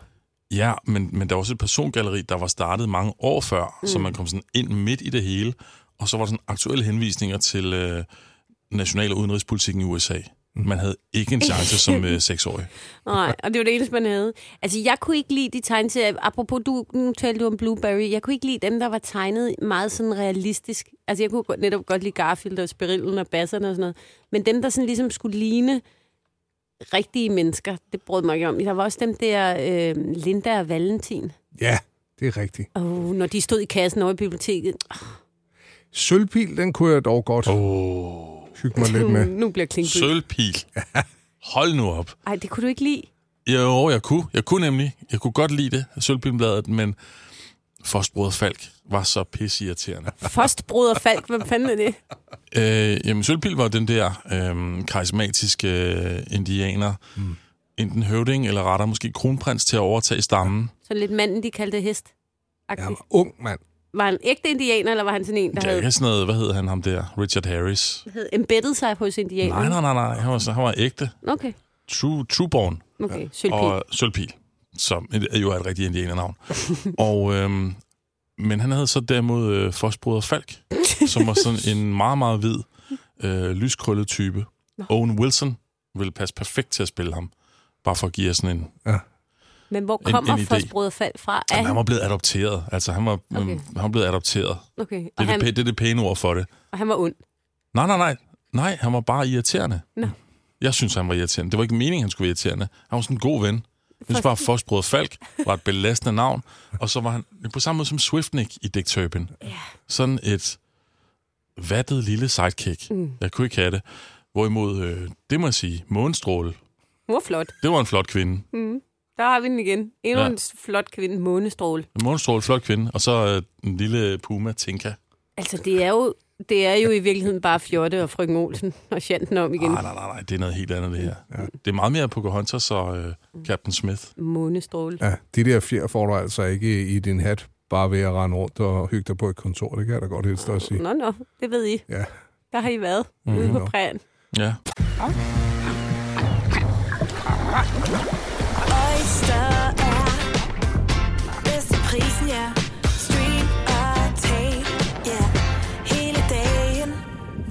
[SPEAKER 4] Ja, men, men der var også et persongalleri, der var startet mange år før, mm. så
[SPEAKER 13] Mm.
[SPEAKER 4] man kom sådan ind midt i det hele, og så var der sådan aktuelle henvisninger til øh, national- og udenrigspolitikken i USA. Man havde ikke en chance som øh, seksårig.
[SPEAKER 3] Nej, og det var det eneste, man havde. Altså, jeg kunne ikke lide de tegneserier. Apropos, du, nu talte du om Blueberry. Jeg kunne ikke lide dem, der var tegnet meget sådan realistisk. Altså, jeg kunne godt- netop godt lide Garfield og Spirillen og Basserne og sådan noget. Men dem, der sådan ligesom skulle ligne rigtige mennesker, det brød mig ikke om. Der var også dem der øh, Linda og Valentin.
[SPEAKER 2] Ja, det er rigtigt.
[SPEAKER 3] Oh, når de stod i kassen over i biblioteket.
[SPEAKER 2] Sølvpil, den kunne jeg dog godt oh. hygge mig lidt med.
[SPEAKER 3] nu bliver Klingby.
[SPEAKER 4] Sølvpil. Hold nu op.
[SPEAKER 3] Ej, det kunne du ikke lide.
[SPEAKER 4] Jo, jeg kunne. Jeg kunne nemlig. Jeg kunne godt lide det, Sølvpilbladet, men Forstbrød Falk var så pisseirriterende.
[SPEAKER 3] Fostbrød og Falk, hvad fanden er det?
[SPEAKER 4] Øh, jamen, Sølvpil var den der øh, karismatiske øh, indianer, mm. enten høvding eller retter måske kronprins til at overtage stammen.
[SPEAKER 3] Sådan lidt manden, de kaldte hest.
[SPEAKER 4] Ja,
[SPEAKER 3] Var...
[SPEAKER 2] ung mand.
[SPEAKER 3] var han ægte indianer, eller var han sådan en, der
[SPEAKER 4] Ja,
[SPEAKER 3] havde
[SPEAKER 4] ikke sådan noget, hvad hed han ham der? Richard Harris.
[SPEAKER 3] havde embeddet sig hos indianerne.
[SPEAKER 4] Nej, nej, nej, nej. Han var, så- han var ægte.
[SPEAKER 3] Okay,
[SPEAKER 4] True, Trueborn.
[SPEAKER 3] okay. Ja. Sølvpil.
[SPEAKER 4] Og Sølvpil, som er jo er et rigtigt indianernavn. og, øhm, men han havde så derimod øh, Fosbroder Falk, som var sådan en meget, meget hvid, øh, lyskrøllet type.
[SPEAKER 3] Nå.
[SPEAKER 4] Owen Wilson ville passe perfekt til at spille ham. Bare for at give jer sådan en... Ja.
[SPEAKER 3] Men hvor
[SPEAKER 4] en-
[SPEAKER 3] kommer
[SPEAKER 4] en idé.
[SPEAKER 3] Fosbrød Falk fra? Er
[SPEAKER 4] Han
[SPEAKER 3] han?
[SPEAKER 4] var blevet adopteret. Altså, han var, okay.
[SPEAKER 3] Okay.
[SPEAKER 4] øhm, han var blevet adopteret.
[SPEAKER 3] Okay,
[SPEAKER 4] Det
[SPEAKER 3] og
[SPEAKER 4] er det,
[SPEAKER 3] han,
[SPEAKER 4] pæ- det er det pæne ord for det.
[SPEAKER 3] og han var ond.
[SPEAKER 4] Nej, nej, nej. Nej, han var bare irriterende.
[SPEAKER 3] Nå.
[SPEAKER 4] Jeg synes, han var irriterende. Det var ikke meningen, han skulle være irriterende. Han var sådan en god ven. Jeg synes bare, at Fosbrød Falk var et belastende navn. Og så var han på samme måde som Swiftnick i Dick Turpin. Yeah. Sådan et vattet lille sidekick.
[SPEAKER 3] Mm.
[SPEAKER 4] Mm. Jeg kunne ikke have det. Hvorimod, øh, det må jeg sige, Månestråle,
[SPEAKER 3] Hun var flot.
[SPEAKER 4] det var en flot kvinde.
[SPEAKER 3] Mm. Der har vi den igen. Endnu ja.
[SPEAKER 4] Ja.
[SPEAKER 3] en s- flot kvinde, månestråle.
[SPEAKER 4] Månestråle, flot kvinde. Og så øh, en lille puma, Tinka.
[SPEAKER 3] Altså, det er jo, det er jo i virkeligheden bare Fjotte og Frøken Olsen og Shanten om igen.
[SPEAKER 4] Ah, Nej, nej, nej, nej, det er noget helt andet, det her. Ja. Det er meget mere Pocahontas og øh, Captain Smith.
[SPEAKER 3] Månestråle.
[SPEAKER 2] Ja, de der fjer får du altså ikke i din hat, bare ved at rende rundt og hygge dig på et kontor. Det kan jeg da godt helst at sige.
[SPEAKER 3] Nå, nå, det ved I.
[SPEAKER 2] Ja.
[SPEAKER 3] Der har I været
[SPEAKER 2] Mhm.
[SPEAKER 3] mm-hmm. ude på
[SPEAKER 2] Nå.
[SPEAKER 3] prægen.
[SPEAKER 4] Ja.
[SPEAKER 14] Oyster er bedst til prisen, ja. Stream og tag, ja. Hele dagen.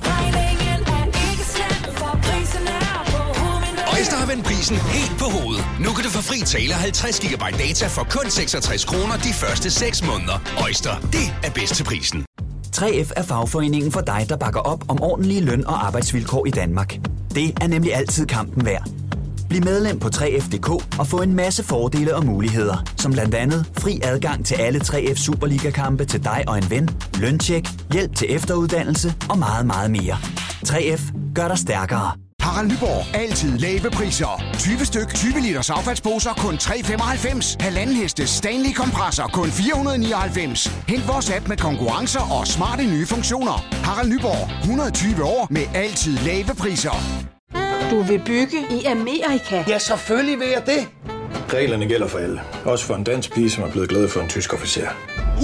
[SPEAKER 14] Regningen er ikke slem, for prisen er på hovedet.
[SPEAKER 15] Øjster har vendt prisen helt på hovedet. Nu kan du få fri tale 50 GB data for kun 66 kroner de første 6 måneder. Øjster, det er bedst til prisen.
[SPEAKER 16] 3F er fagforeningen for dig, der bakker op om ordentlige løn- og arbejdsvilkår i Danmark. Det er nemlig altid kampen værd. Bliv medlem på 3F.dk og få en masse fordele og muligheder, som blandt andet fri adgang til alle 3F Superliga-kampe til dig og en ven, løntjek, hjælp til efteruddannelse og meget, meget mere. 3F gør dig stærkere.
[SPEAKER 8] Harald Nyborg. Altid lave priser. 20 styk, 20 liters affaldsposer kun 3,95. Halvanden heste Stanley kompresser kun 499. Hent vores app med konkurrencer og smarte nye funktioner. Harald Nyborg. 120 år med altid lave priser.
[SPEAKER 9] Du vil bygge i Amerika? Ja, selvfølgelig vil jeg det.
[SPEAKER 11] Reglerne gælder for alle. Også for en dansk pige, som er blevet glad for en tysk officer.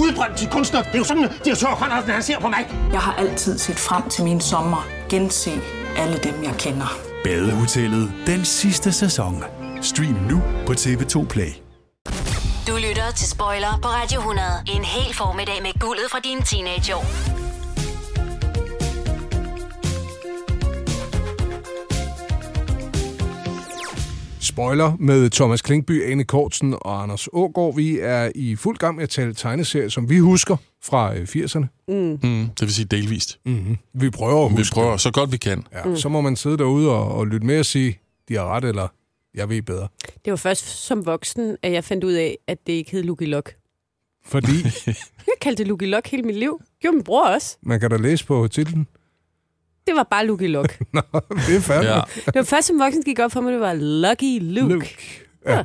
[SPEAKER 10] Udbrøndt til kunstner. Det er jo sådan, at de har tørt, Andersen, han ser på mig.
[SPEAKER 9] Jeg har altid set frem til min sommer, gense alle dem, jeg kender.
[SPEAKER 12] Badehotellet den sidste sæson. Stream nu på TV2 Play.
[SPEAKER 1] Du lytter til Spoiler på Radio 100. En hel formiddag med guldet fra dine teenageår.
[SPEAKER 2] Spoiler med Thomas Klinkby, Ane Kortsen og Anders Ågaard. Vi er i fuld gang med at tale tegneserier, som vi husker fra øh, 80'erne.
[SPEAKER 3] Mm.
[SPEAKER 4] Mm, det vil sige delvist.
[SPEAKER 2] Mm-hmm. Vi prøver at
[SPEAKER 4] Vi
[SPEAKER 2] huske
[SPEAKER 4] prøver så godt vi kan.
[SPEAKER 2] Ja, mm. Så må man sidde derude og, og lytte med og sige, de har ret, eller jeg ved bedre.
[SPEAKER 3] Det var først som voksen, at jeg fandt ud af, at det ikke hed Lucky Luck.
[SPEAKER 2] Fordi
[SPEAKER 3] Jeg kaldte det Lucky Luck hele mit liv. Gjorde min bror også.
[SPEAKER 2] man kan da læse på titlen.
[SPEAKER 3] Det var bare Lucky Luck.
[SPEAKER 2] Nå, det er fandme. Ja.
[SPEAKER 3] Det var først som voksen, gik op for mig, det var Lucky Luke. Ah. Luke.
[SPEAKER 2] Ja.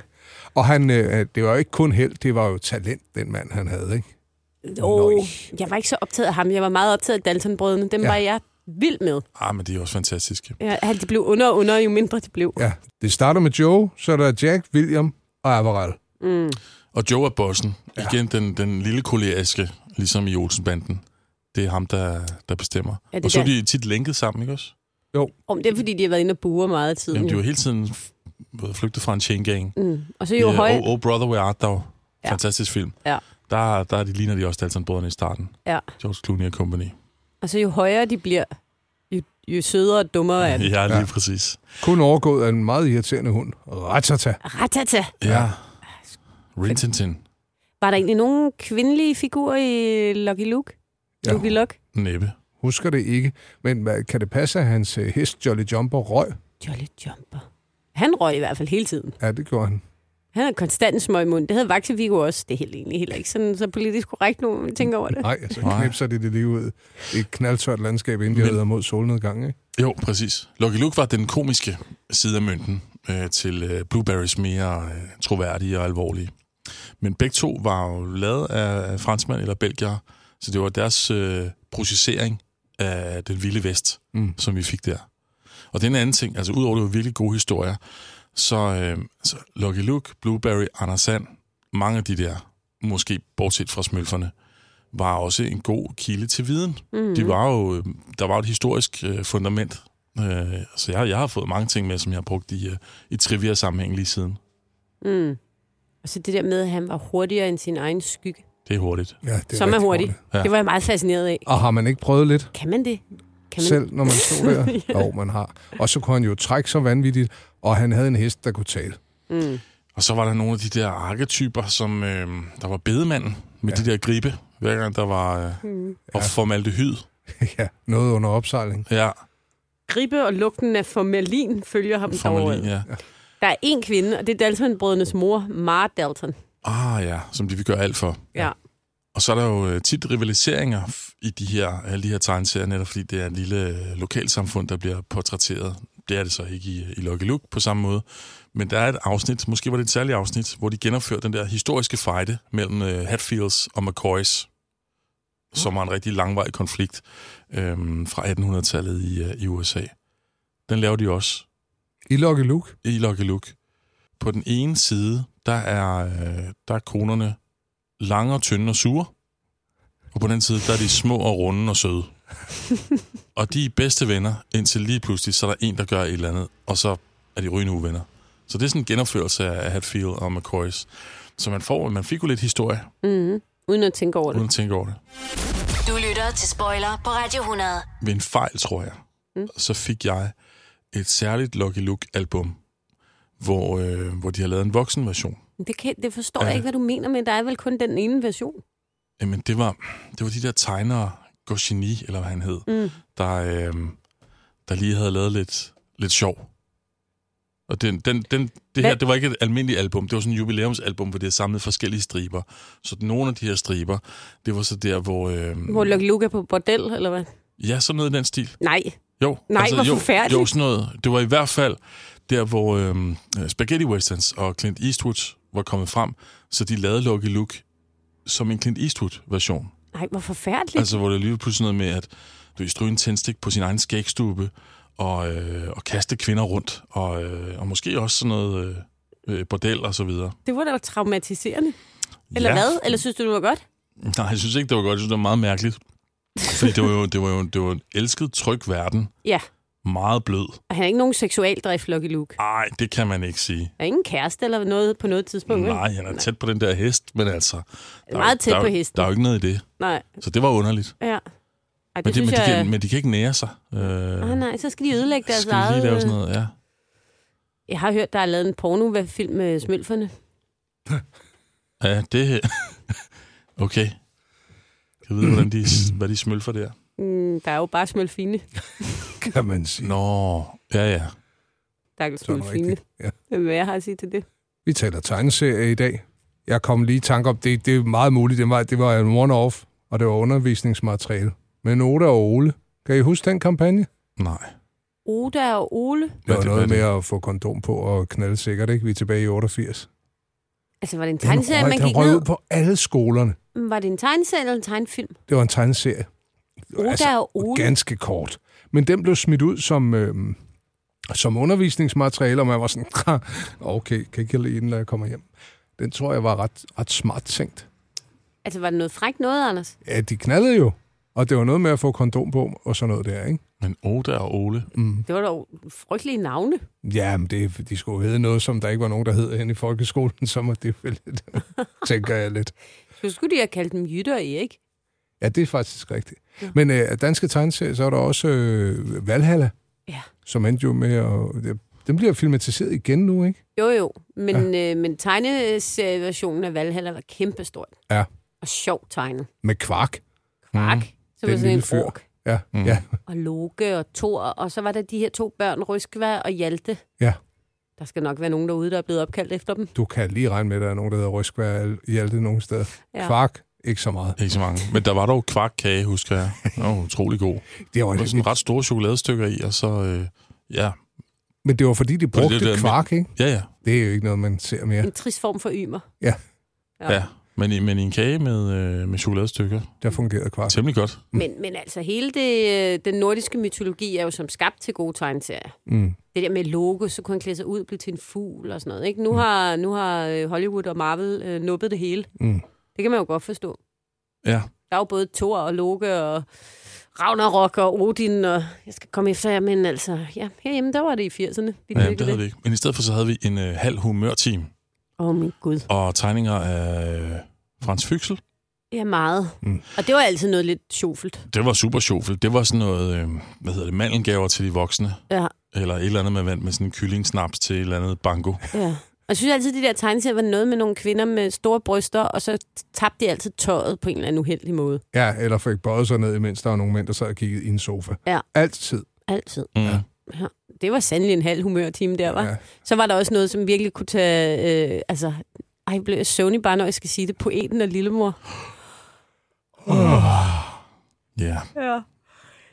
[SPEAKER 2] Og han, øh, det var jo ikke kun held, det var jo talent, den mand han havde, ikke?
[SPEAKER 3] Oh, jeg var ikke så optaget af ham. Jeg var meget optaget af Dalton-brødrene. Dem
[SPEAKER 2] Ja.
[SPEAKER 3] ja. var jeg vild med.
[SPEAKER 4] Ah, men de er også fantastiske.
[SPEAKER 3] Ja, han- de blev under og under, jo mindre de blev.
[SPEAKER 2] Ja. Det starter med Joe, så er der Jack, William og Averell.
[SPEAKER 3] Mm.
[SPEAKER 4] Og Joe er bossen. Ja. Igen den, den lille koleriske, ligesom i Olsenbanden. Det er ham, der, der bestemmer.
[SPEAKER 3] Er det
[SPEAKER 4] og så er
[SPEAKER 3] der-
[SPEAKER 4] de tit lænket sammen, ikke også?
[SPEAKER 2] Jo.
[SPEAKER 3] Om det er, fordi de har været inde og bure meget af tiden.
[SPEAKER 4] Jamen, de
[SPEAKER 3] jo.
[SPEAKER 4] var hele tiden f-
[SPEAKER 7] både flygtet fra en chain gang.
[SPEAKER 3] Mm. Og så jo
[SPEAKER 7] øh,
[SPEAKER 3] høj-
[SPEAKER 7] Oh, oh Brother, Where Art Thou.
[SPEAKER 3] Ja.
[SPEAKER 7] Fantastisk film.
[SPEAKER 3] Ja.
[SPEAKER 7] Der, der de ligner de også alle sammen brødrene i starten.
[SPEAKER 3] Ja.
[SPEAKER 7] George Clooney og Company.
[SPEAKER 3] Altså, jo højere de bliver, jo, jo sødere og dummere er de.
[SPEAKER 7] Ja, lige ja. præcis.
[SPEAKER 2] Kun overgået af en meget irriterende hund. Ratata.
[SPEAKER 3] Ratata.
[SPEAKER 7] Ja. Rintintin.
[SPEAKER 3] Var der egentlig nogen kvindelige figurer i Lucky Luke?
[SPEAKER 2] Ja.
[SPEAKER 3] Ja. Lucky Luke?
[SPEAKER 7] Næppe.
[SPEAKER 2] Husker det ikke. Men hvad, kan det passe, at hans øh, hest Jolly Jumper røg?
[SPEAKER 3] Jolly Jumper. Han røg i hvert fald hele tiden.
[SPEAKER 2] Ja, det gjorde han.
[SPEAKER 3] Han havde konstant en smøg mund. Det havde Vaxevigo også. Det er helt egentlig heller ikke sådan, så politisk korrekt nu, når man tænker over det.
[SPEAKER 2] Nej, altså knipser det det lige ud. i Et knaldtørt landskab, inden de
[SPEAKER 7] Men-
[SPEAKER 2] rider mod solnedgang, ikke?
[SPEAKER 7] Jo, præcis. Lucky Luke var den komiske side af mynten øh, til øh, Blueberries mere øh, troværdige og alvorlige. Men begge to var jo lavet af franskmænd eller belgier, så det var deres øh, processering af den vilde vest,
[SPEAKER 2] Mm.
[SPEAKER 7] mm. som vi fik der. Og den anden ting, altså udover det var virkelig gode historier, så, øh, så Lucky Luke, Blueberry, Anders Sand, mange af de der, måske bortset fra smølferne, var også en god kilde til viden.
[SPEAKER 17] Mhm.
[SPEAKER 7] Mm. De var jo, øh, der var jo et historisk øh, fundament, øh, så jeg, jeg har fået mange ting med, som jeg har brugt i, øh, i trivia-sammenhæng lige siden.
[SPEAKER 3] Mm. Og så det der med, at han var hurtigere end sin egen skygge,
[SPEAKER 7] Det er hurtigt.
[SPEAKER 2] Ja, det
[SPEAKER 3] som er hurtig.
[SPEAKER 7] Ja.
[SPEAKER 3] Ja. Det var jeg meget fascineret af.
[SPEAKER 2] Og har man ikke prøvet lidt?
[SPEAKER 3] Kan man det? Kan man?
[SPEAKER 2] Selv når man stod der?
[SPEAKER 3] Ja.
[SPEAKER 2] Jo, man har. Og så kunne han jo trække så vanvittigt, og han havde en hest, der kunne tale.
[SPEAKER 3] Mm.
[SPEAKER 7] Og så var der nogle af de der arketyper, som øh, der var bedemanden med ja. de der gribe, hver gang der var øh,
[SPEAKER 3] Mm.
[SPEAKER 7] og formaldehyd.
[SPEAKER 2] ja, noget under opsejling.
[SPEAKER 7] Ja,
[SPEAKER 3] Gribe og lugten af formalin følger ham
[SPEAKER 7] formalin,
[SPEAKER 3] derovre.
[SPEAKER 7] ja.
[SPEAKER 3] Der er én kvinde, og det er Dalton-brødrenes mor, Mara Dalton.
[SPEAKER 7] Ah ja, som de vil gøre alt for.
[SPEAKER 3] Ja.
[SPEAKER 7] Og så er der jo øh, tit rivaliseringer f- i de her, alle de her tegneserier, netop fordi det er et lille øh, lokalsamfund, der bliver portrætteret. Det er det så ikke i, i Lucky Luke på samme måde. Men der er et afsnit, måske var det et særligt afsnit, hvor de genopfører den der historiske fejde mellem øh, Hatfields og McCoys, som var en rigtig langvarig konflikt øh, fra 1800-tallet i, øh, i USA. Den laver de også.
[SPEAKER 2] I Lucky Luke?
[SPEAKER 7] I Lucky Luke. På den ene side, der er, øh, der er konerne lange og tynde og sure. Og på den anden side, der er de små og runde og søde. og de er bedste venner, indtil lige pludselig, så er der en, der gør et eller andet, og så er de rygende uvenner. Så det er sådan en genopførelse af Hatfield og McCoys. Så man, får, man fik jo lidt historie,
[SPEAKER 3] Mm. Uden at tænke over det.
[SPEAKER 7] uden at tænke over det.
[SPEAKER 1] Du lytter til Spoiler på Radio 100.
[SPEAKER 7] ved en fejl, tror jeg, mm. så fik jeg et særligt Lucky Luke-album, hvor, øh, hvor de har lavet en voksenversion.
[SPEAKER 3] Det, kan, det forstår
[SPEAKER 7] Ja.
[SPEAKER 3] jeg ikke, hvad du mener, men der er vel kun den ene version.
[SPEAKER 7] Jamen, det var, det var de der tegnere, Goscinny, eller hvad han hed,
[SPEAKER 3] Mm.
[SPEAKER 7] der, øh, der lige havde lavet lidt, lidt sjov. Og den, den, den, det her,
[SPEAKER 17] Hvad-
[SPEAKER 7] det var ikke et almindeligt album, det var sådan et jubilæumsalbum, hvor det havde samlet forskellige striber. Så nogle af de her striber, det var så der, hvor... Øh,
[SPEAKER 3] Hvor Lucky Luke er på bordel, eller hvad?
[SPEAKER 7] ja, sådan noget i den stil.
[SPEAKER 3] Nej.
[SPEAKER 7] Jo. altså,
[SPEAKER 3] Nej, hvor
[SPEAKER 7] jo,
[SPEAKER 3] forfærdeligt.
[SPEAKER 7] Jo, sådan noget. Det var i hvert fald der, hvor øhm, Spaghetti Westerns og Clint Eastwood var kommet frem, så de lavede Lucky Luke som en Clint Eastwood-version.
[SPEAKER 3] Nej, hvor forfærdeligt.
[SPEAKER 7] Altså, hvor der lige pludselig noget med, at du kan stryge en tændstik på sin egen skægstube og, øh, og kaste kvinder rundt, og, øh, og måske også sådan noget øh, øh, bordel og så videre.
[SPEAKER 3] Det var da traumatiserende. Eller
[SPEAKER 7] Ja.
[SPEAKER 3] ja. hvad? Eller synes du, det var godt?
[SPEAKER 7] Nej, jeg synes ikke, det var godt. Jeg synes, det var meget mærkeligt. Fordi det var jo, det var jo, det var en elsket, tryg verden.
[SPEAKER 3] Ja.
[SPEAKER 7] Meget blød.
[SPEAKER 3] Og han er ikke nogen seksualdrift, Lucky Luke.
[SPEAKER 7] Nej, det kan man ikke sige.
[SPEAKER 3] Der er ingen kæreste eller noget på noget tidspunkt. vel?
[SPEAKER 7] Nej, han er tæt på den der hest, men altså... Der er
[SPEAKER 3] Meget
[SPEAKER 7] jo-
[SPEAKER 3] tæt
[SPEAKER 7] der er jo-
[SPEAKER 3] på hesten.
[SPEAKER 7] Der er jo ikke noget i det.
[SPEAKER 3] Nej.
[SPEAKER 7] Så det var underligt.
[SPEAKER 3] Ja. Ej, det,
[SPEAKER 7] men, det,
[SPEAKER 3] synes
[SPEAKER 7] men, de
[SPEAKER 3] jeg...
[SPEAKER 7] kan, men de kan ikke nære sig. Øh,
[SPEAKER 3] Ah, nej, så skal de ødelægge deres
[SPEAKER 7] skal de
[SPEAKER 3] eget... øh,
[SPEAKER 7] lige lave sådan noget, ja.
[SPEAKER 3] Jeg har hørt, der er lavet en pornofilm med smølferne.
[SPEAKER 7] Ja, det... okay. Jeg ved, hvordan de, hvad de smølfer der.
[SPEAKER 3] Mm, der er jo bare smølfine.
[SPEAKER 2] Kan man sige.
[SPEAKER 7] Nå, ja, ja.
[SPEAKER 3] Der er jo
[SPEAKER 2] Sådan
[SPEAKER 3] smølfine.
[SPEAKER 2] rigtigt, ja.
[SPEAKER 3] Hvad vil jeg har at sige til det?
[SPEAKER 2] Vi taler tegneserie i dag. Jeg kom lige i tanke om, det, det er meget muligt, det var, det var en one-off, og det var undervisningsmateriale. Men Oda og Ole, kan I huske den kampagne?
[SPEAKER 7] Nej.
[SPEAKER 3] Oda og Ole.
[SPEAKER 2] Det var
[SPEAKER 7] det-
[SPEAKER 2] noget
[SPEAKER 7] hvad
[SPEAKER 2] med
[SPEAKER 7] er
[SPEAKER 2] at få kondom på og knalde sikkert, ikke? Vi er tilbage i 88.
[SPEAKER 3] Altså, var det en
[SPEAKER 2] Den
[SPEAKER 3] tegneserie,
[SPEAKER 2] røg,
[SPEAKER 3] man
[SPEAKER 2] den
[SPEAKER 3] gik
[SPEAKER 2] røg
[SPEAKER 3] ned? Mm,
[SPEAKER 2] ud på alle skolerne.
[SPEAKER 3] Var det en tegneserie eller en tegnefilm?
[SPEAKER 2] Det var en tegneserie.
[SPEAKER 3] Oda
[SPEAKER 2] altså,
[SPEAKER 3] og Ole.
[SPEAKER 2] Ganske kort. Men den blev smidt ud som, øh, som undervisningsmateriale, og man var sådan, "Ha, okay, kan ikke jeg lide den, når jeg kommer hjem. Den tror jeg var ret, ret smart tænkt.
[SPEAKER 3] Altså, var det noget frækt noget, Anders?
[SPEAKER 2] Ja, de knaldede jo, Og det var noget med at få kondom på og sådan noget der, ikke?
[SPEAKER 7] Men Oda og Ole.
[SPEAKER 2] Mm.
[SPEAKER 3] Det var dog frygtelige navne.
[SPEAKER 2] Ja, men det, de skulle hedde noget, som der ikke var nogen, der hed hen i folkeskolen, så må det vel lidt, tænker jeg lidt.
[SPEAKER 3] Så skulle de have kaldt dem Jytte og Erik.
[SPEAKER 2] Ja, det er faktisk rigtigt.
[SPEAKER 3] Ja.
[SPEAKER 2] Ja. Men øh, danske tegneserier, så er der også øh, Valhalla,
[SPEAKER 3] Ja.
[SPEAKER 2] som endte jo med at... Den bliver filmatiseret igen nu, ikke?
[SPEAKER 3] Jo, jo. Men, ja. øh, men tegneserieversionen af Valhalla var kæmpestort.
[SPEAKER 2] Ja, Mhm.
[SPEAKER 3] Og sjovt tegnet.
[SPEAKER 2] med kvark.
[SPEAKER 3] Kvark. Mm. Som var sådan en
[SPEAKER 2] fyr.
[SPEAKER 3] ork.
[SPEAKER 2] Ja, mm. ja,
[SPEAKER 3] Og Loke og Thor. Og så var der de her to børn, Ryskva og Hjalte.
[SPEAKER 2] ja.
[SPEAKER 3] Der skal nok være nogen derude, der er blevet opkaldt efter dem.
[SPEAKER 2] Du kan lige regne med, at der er nogen, der hedder Ryskvær Hjalte nogen steder.
[SPEAKER 3] Ja.
[SPEAKER 2] Ja. Kvark, ikke så meget.
[SPEAKER 7] Ikke så mange. Men der var dog kvarkkage, husker jeg. Den var utrolig god.
[SPEAKER 2] Det var,
[SPEAKER 7] der var sådan ret store chokoladestykker i, og så... Øh, ja.
[SPEAKER 2] Men det var fordi, de
[SPEAKER 7] Fordi det
[SPEAKER 2] brugte
[SPEAKER 7] der med-
[SPEAKER 2] kvark, ikke?
[SPEAKER 7] Ja, ja.
[SPEAKER 2] Det er jo ikke noget, man ser mere.
[SPEAKER 3] En trist form for ymer.
[SPEAKER 2] Ja,
[SPEAKER 7] ja. ja. Men, i- men i en kage med, øh, med chokoladestykker.
[SPEAKER 2] Der fungerede kvark.
[SPEAKER 7] Temmelig godt.
[SPEAKER 2] Mm.
[SPEAKER 3] Men, men altså, hele det, øh, den nordiske mytologi er jo som skabt til gode tegneserier.
[SPEAKER 2] Mm.
[SPEAKER 3] Det der med Loke, så kunne han klæde sig ud og blive til en fugl og sådan noget. Ikke? Nu, har, nu har øh, Hollywood og Marvel øh, nuppet det hele.
[SPEAKER 2] Mm.
[SPEAKER 3] Det kan man jo godt forstå.
[SPEAKER 7] Ja.
[SPEAKER 3] Der er jo både Thor og Loke og Ragnarok og Odin, og jeg skal komme efter jer, men altså, ja, herhjemme, der var det i 80'erne. Vi
[SPEAKER 7] Ja,
[SPEAKER 3] dyrkede
[SPEAKER 7] det havde vi ikke. Men i stedet for, så havde vi en øh, halv humørteam.
[SPEAKER 3] Åh, oh, min Gud.
[SPEAKER 7] Og tegninger af øh, Frans Fyksel.
[SPEAKER 3] Ja, meget. Mm. Og det var altid noget lidt sjovfuldt.
[SPEAKER 7] Det var super sjovt. Det var sådan noget, øh, hvad hedder det, mandelgaver til de voksne.
[SPEAKER 3] Ja,
[SPEAKER 7] Eller et eller andet med vand med sådan en kyllingsnaps til et eller andet banko.
[SPEAKER 3] ja. Og jeg synes altid, de der tegneserier var noget med nogle kvinder med store bryster, og så tabte de altid tøjet på en eller anden uheldig måde.
[SPEAKER 2] Ja, eller fik bøjet sig ned, imens der var nogle mænd, der sad og kiggede i en sofa.
[SPEAKER 3] Ja.
[SPEAKER 2] Altid.
[SPEAKER 3] Altid.
[SPEAKER 7] Mm. Ja.
[SPEAKER 3] Ja, det var sandelig en halv humørtime der, var. Ja. Så var der også noget, som virkelig kunne tage... Øh, altså, ej, blev jeg søvnig bare, når jeg skal sige det. Poeten og lillemor.
[SPEAKER 7] Ja.
[SPEAKER 3] Ja.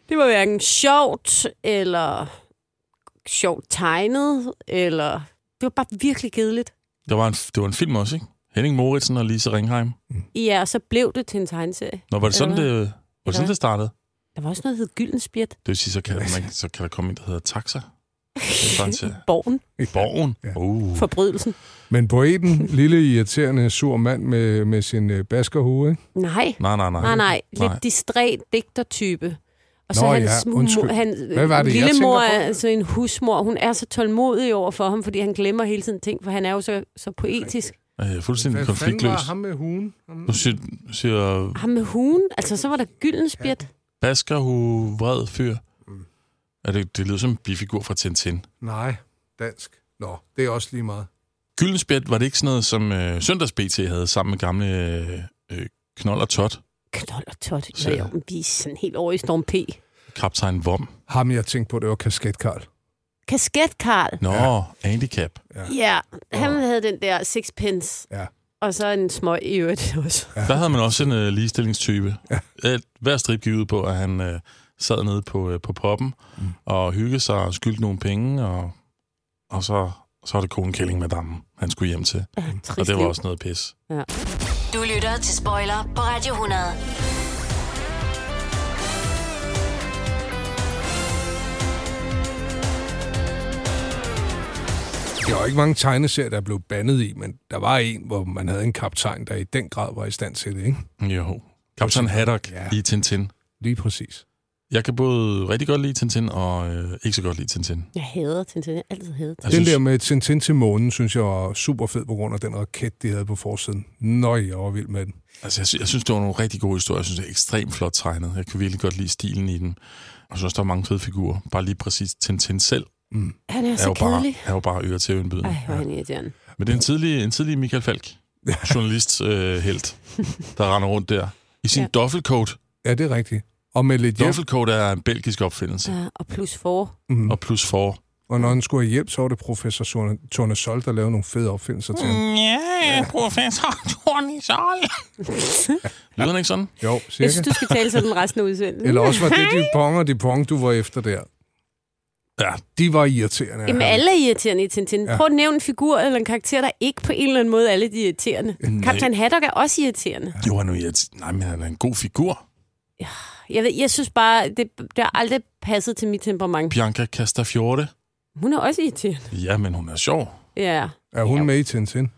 [SPEAKER 3] Det var hverken sjovt, eller sjovt tegnet, eller... Det var bare virkelig kedeligt.
[SPEAKER 7] Der var en, det var en film også, ikke? Henning Moritsen og Lise Ringheim.
[SPEAKER 3] Ja, og så blev det til en tegneserie.
[SPEAKER 7] Nå, var det sådan,
[SPEAKER 3] Eller
[SPEAKER 7] det,
[SPEAKER 3] hvad?
[SPEAKER 7] var det, sådan, det startede?
[SPEAKER 3] Der var også noget, der hed Gyldenspjæt.
[SPEAKER 7] Det vil sige, så kan, man, så kan der komme en, der hedder Taxa. Frans-
[SPEAKER 3] Borgen.
[SPEAKER 7] Borgen? Ja. Uh.
[SPEAKER 3] Forbrydelsen.
[SPEAKER 2] Men poeten, lille irriterende sur mand med, med sin øh, baskerhue, ikke?
[SPEAKER 3] Nej.
[SPEAKER 7] Nej, nej, nej.
[SPEAKER 3] Nej, nej. Lidt
[SPEAKER 2] Nej.
[SPEAKER 3] distræt digtertype. Og så
[SPEAKER 2] Nå,
[SPEAKER 3] hans,
[SPEAKER 2] ja,
[SPEAKER 3] mu-
[SPEAKER 2] undskyld.
[SPEAKER 3] hans
[SPEAKER 2] Hvad var det, jeg
[SPEAKER 3] lillemor
[SPEAKER 2] tænker på?
[SPEAKER 3] er altså en husmor. Hun er så tålmodig over for ham, fordi han glemmer hele tiden ting, for han er jo så, så poetisk.
[SPEAKER 7] Øh, fuldstændig
[SPEAKER 2] Hvad fanden
[SPEAKER 7] konfliktløs.
[SPEAKER 2] var ham med hugen? Ham...
[SPEAKER 7] Nu siger, siger
[SPEAKER 3] Ham med hugen, altså så var der gyldenspjæt.
[SPEAKER 7] Basker, hu, vred fyr. Er det, det lyder som en bifigur fra Tintin.
[SPEAKER 2] Nej, dansk. Nå, det er også lige meget.
[SPEAKER 7] Gyldenspjæt, var det ikke sådan noget, som øh, Søndags BT havde sammen med gamle øh, øh, Knold og Tot?
[SPEAKER 3] Knold og tot.
[SPEAKER 7] Så-
[SPEAKER 3] Ja, jo, men vi er sådan helt over i Storm P.
[SPEAKER 7] Kaptajn Vom.
[SPEAKER 2] Ham, jeg tænkte på, det var kasket Karl.
[SPEAKER 3] Kasket Karl.
[SPEAKER 7] Nå, ja. handicap.
[SPEAKER 3] Ja, han havde den der sixpence.
[SPEAKER 2] Ja.
[SPEAKER 3] Og så en smøg i øvrigt også.
[SPEAKER 7] Ja. Der havde man også en øh, ligestillingstype. Ja. Hver strip gik ud på, at han øh, sad nede på, øh, på poppen mm. og hyggede sig og skyldte nogle penge, og, og så, så var det konen Kælling Madame, han skulle hjem til.
[SPEAKER 3] Ja,
[SPEAKER 2] Mm.
[SPEAKER 7] og
[SPEAKER 1] trist
[SPEAKER 7] det var
[SPEAKER 1] liv.
[SPEAKER 7] også noget pis.
[SPEAKER 3] Ja.
[SPEAKER 1] Du lytter til Spoiler på Radio 100.
[SPEAKER 2] Der var ikke mange tegneserier, der blev bandet i, men der var en, hvor man havde en kaptajn, der i den grad var i stand til det, ikke?
[SPEAKER 7] Mm, Jo. Kaptajn Haddock ja. i Tintin.
[SPEAKER 2] Lige præcis.
[SPEAKER 7] Jeg kan både rigtig godt lide Tintin og øh, ikke så godt lide Tintin.
[SPEAKER 3] Jeg hader Tintin. Jeg har altid hader
[SPEAKER 2] Den
[SPEAKER 3] Tintin.
[SPEAKER 2] synes... der med Tintin til månen, synes jeg var super fed på grund af den raket, de havde på forsiden. Nøj, jeg var vild med den.
[SPEAKER 7] Altså, jeg, sy- jeg synes, det var nogle rigtig gode historier. Jeg synes, det er ekstremt flot tegnet. Jeg kan virkelig godt lide stilen i den. Og jeg synes, også, der er mange fede figurer. Bare lige præcis Tintin selv.
[SPEAKER 2] Mm.
[SPEAKER 3] Han er så
[SPEAKER 7] jo bare,
[SPEAKER 3] kedelig.
[SPEAKER 7] er jo bare øre til øjenbyden.
[SPEAKER 3] Ej, hvor er han irriterende.
[SPEAKER 7] Men det er en tidlig, en tidlig Michael Falk, journalist øh, helt, der render rundt der. I sin ja. doffelcoat.
[SPEAKER 2] Ja, det er rigtigt. Og med lidt hjælp.
[SPEAKER 7] Doffelcoat er en belgisk opfindelse.
[SPEAKER 3] Ja, og plus for.
[SPEAKER 2] Mm.
[SPEAKER 7] Og plus for.
[SPEAKER 2] Og når han skulle have hjælp, så var det professor Sorne- Torne Sol, der lavede nogle fede opfindelser til
[SPEAKER 3] Mm.
[SPEAKER 2] ham.
[SPEAKER 7] Ja, professor Tony Sol. Lyder den ikke sådan?
[SPEAKER 2] Jo,
[SPEAKER 3] Jeg
[SPEAKER 2] cirka.
[SPEAKER 3] synes, du skal tale sådan resten af udsendelsen.
[SPEAKER 2] Eller også var det de pong og de pong, du var efter der.
[SPEAKER 7] Ja.
[SPEAKER 2] De var irriterende.
[SPEAKER 3] Jamen, alle er irriterende i Tintin.
[SPEAKER 2] Ja.
[SPEAKER 3] Prøv at nævne en figur eller en karakter, der ikke på en eller anden måde er lidt irriterende.
[SPEAKER 7] Nej.
[SPEAKER 3] Kaptajn Haddock er også irriterende.
[SPEAKER 7] Jo, han er, jo irrit- nej, men han er en god figur.
[SPEAKER 3] Jeg, ved, jeg synes bare, det, det har aldrig passet til mit temperament.
[SPEAKER 7] Bianca Castafiore.
[SPEAKER 3] Hun er også irriterende.
[SPEAKER 7] Ja, men hun er sjov.
[SPEAKER 3] Ja,
[SPEAKER 2] Er hun med i Tintin?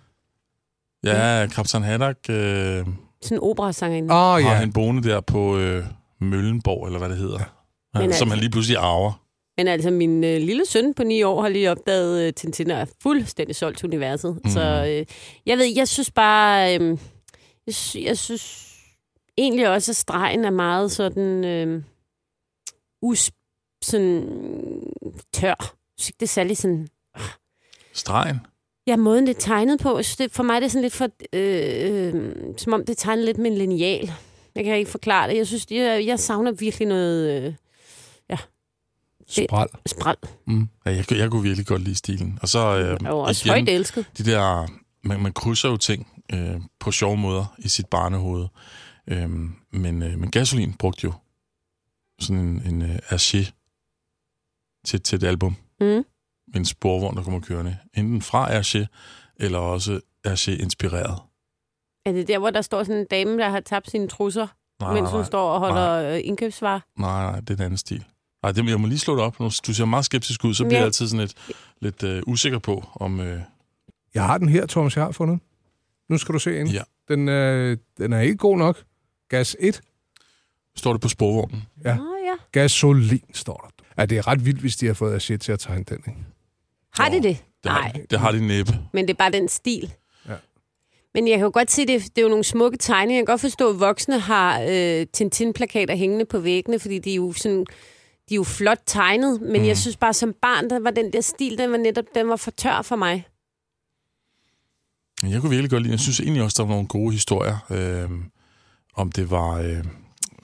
[SPEAKER 7] Ja, Kaptajn Haddock øh,
[SPEAKER 3] sådan en operasangerinde.
[SPEAKER 2] Åh, oh,
[SPEAKER 7] har
[SPEAKER 2] ja.
[SPEAKER 7] han boende der på øh, Møllenborg, eller hvad det hedder, ja.
[SPEAKER 3] Men
[SPEAKER 7] som
[SPEAKER 3] altså-
[SPEAKER 7] han lige pludselig arver.
[SPEAKER 3] Men altså, min øh, lille søn på ni år har lige opdaget øh, Tintin og er fuldstændig solgt til universet. Mm. Så øh, jeg ved, jeg synes bare, øh, jeg, sy- jeg synes egentlig også, at stregen er meget sådan, øh, us, sådan tør. Jeg synes ikke, det er særlig sådan,
[SPEAKER 7] Stregen.
[SPEAKER 3] ja, måden det er tegnet på. Jeg synes, det, for mig er det sådan lidt for, øh, øh, som om det er tegnet lidt med en lineal. Jeg kan ikke forklare det. Jeg synes, jeg, jeg savner virkelig noget, øh, ja. Det-
[SPEAKER 7] Spral.
[SPEAKER 3] Spral.
[SPEAKER 7] Mm. Ja, jeg, kunne- jeg kunne virkelig godt lide stilen. Og så... Øh,
[SPEAKER 3] er jo også højt elsket.
[SPEAKER 7] De der... Man, man krydser jo ting øh, på sjove måder i sit barnehoved. Øh, men, øh, men Gasolin brugte jo sådan en, en øh, Hergé til, til et album.
[SPEAKER 3] Mm.
[SPEAKER 7] Med en sporvogn, der kommer kørende. Enten fra Hergé, eller også Hergé-inspireret.
[SPEAKER 3] Er det der, hvor der står sådan en dame, der har tabt sine trusser,
[SPEAKER 7] Nej,
[SPEAKER 3] nej, mens
[SPEAKER 7] nej,
[SPEAKER 3] hun
[SPEAKER 7] nej.
[SPEAKER 3] står og holder nej. indkøbsvarer?
[SPEAKER 7] Nej, nej, det er en anden stil. Nej, det, jeg må lige slå det op. Nu- Du ser meget skeptisk ud, så
[SPEAKER 3] Men
[SPEAKER 7] bliver
[SPEAKER 3] jeg-
[SPEAKER 7] jeg altid sådan lidt, lidt øh, usikker på, om... Øh,
[SPEAKER 2] Jeg har den her, Thomas. Jeg har fundet. den. Nu skal du se ind.
[SPEAKER 7] Ja.
[SPEAKER 2] Den, øh, den er ikke god nok. Gas 1.
[SPEAKER 7] Står det på sporvognen?
[SPEAKER 2] Ja.
[SPEAKER 3] Oh, ja.
[SPEAKER 2] Gasolin står der. Ja, det er ret vildt, hvis de har fået af shit til at tegne den, ikke?
[SPEAKER 3] Har de det?
[SPEAKER 7] det, har, det har de næppe.
[SPEAKER 3] Men det er bare den stil.
[SPEAKER 2] Ja.
[SPEAKER 3] Men jeg kan jo godt se, det, det er jo nogle smukke tegninger. Jeg kan godt forstå, at voksne har øh, Tintin-plakater hængende på væggene, fordi de er jo sådan... De er jo flot tegnet, men mm. jeg synes bare, som barn, der var den der stil, den var netop den var for tør for mig.
[SPEAKER 7] Men Jeg kunne virkelig godt lide, jeg synes egentlig også, der var nogle gode historier, øh, om det var, øh,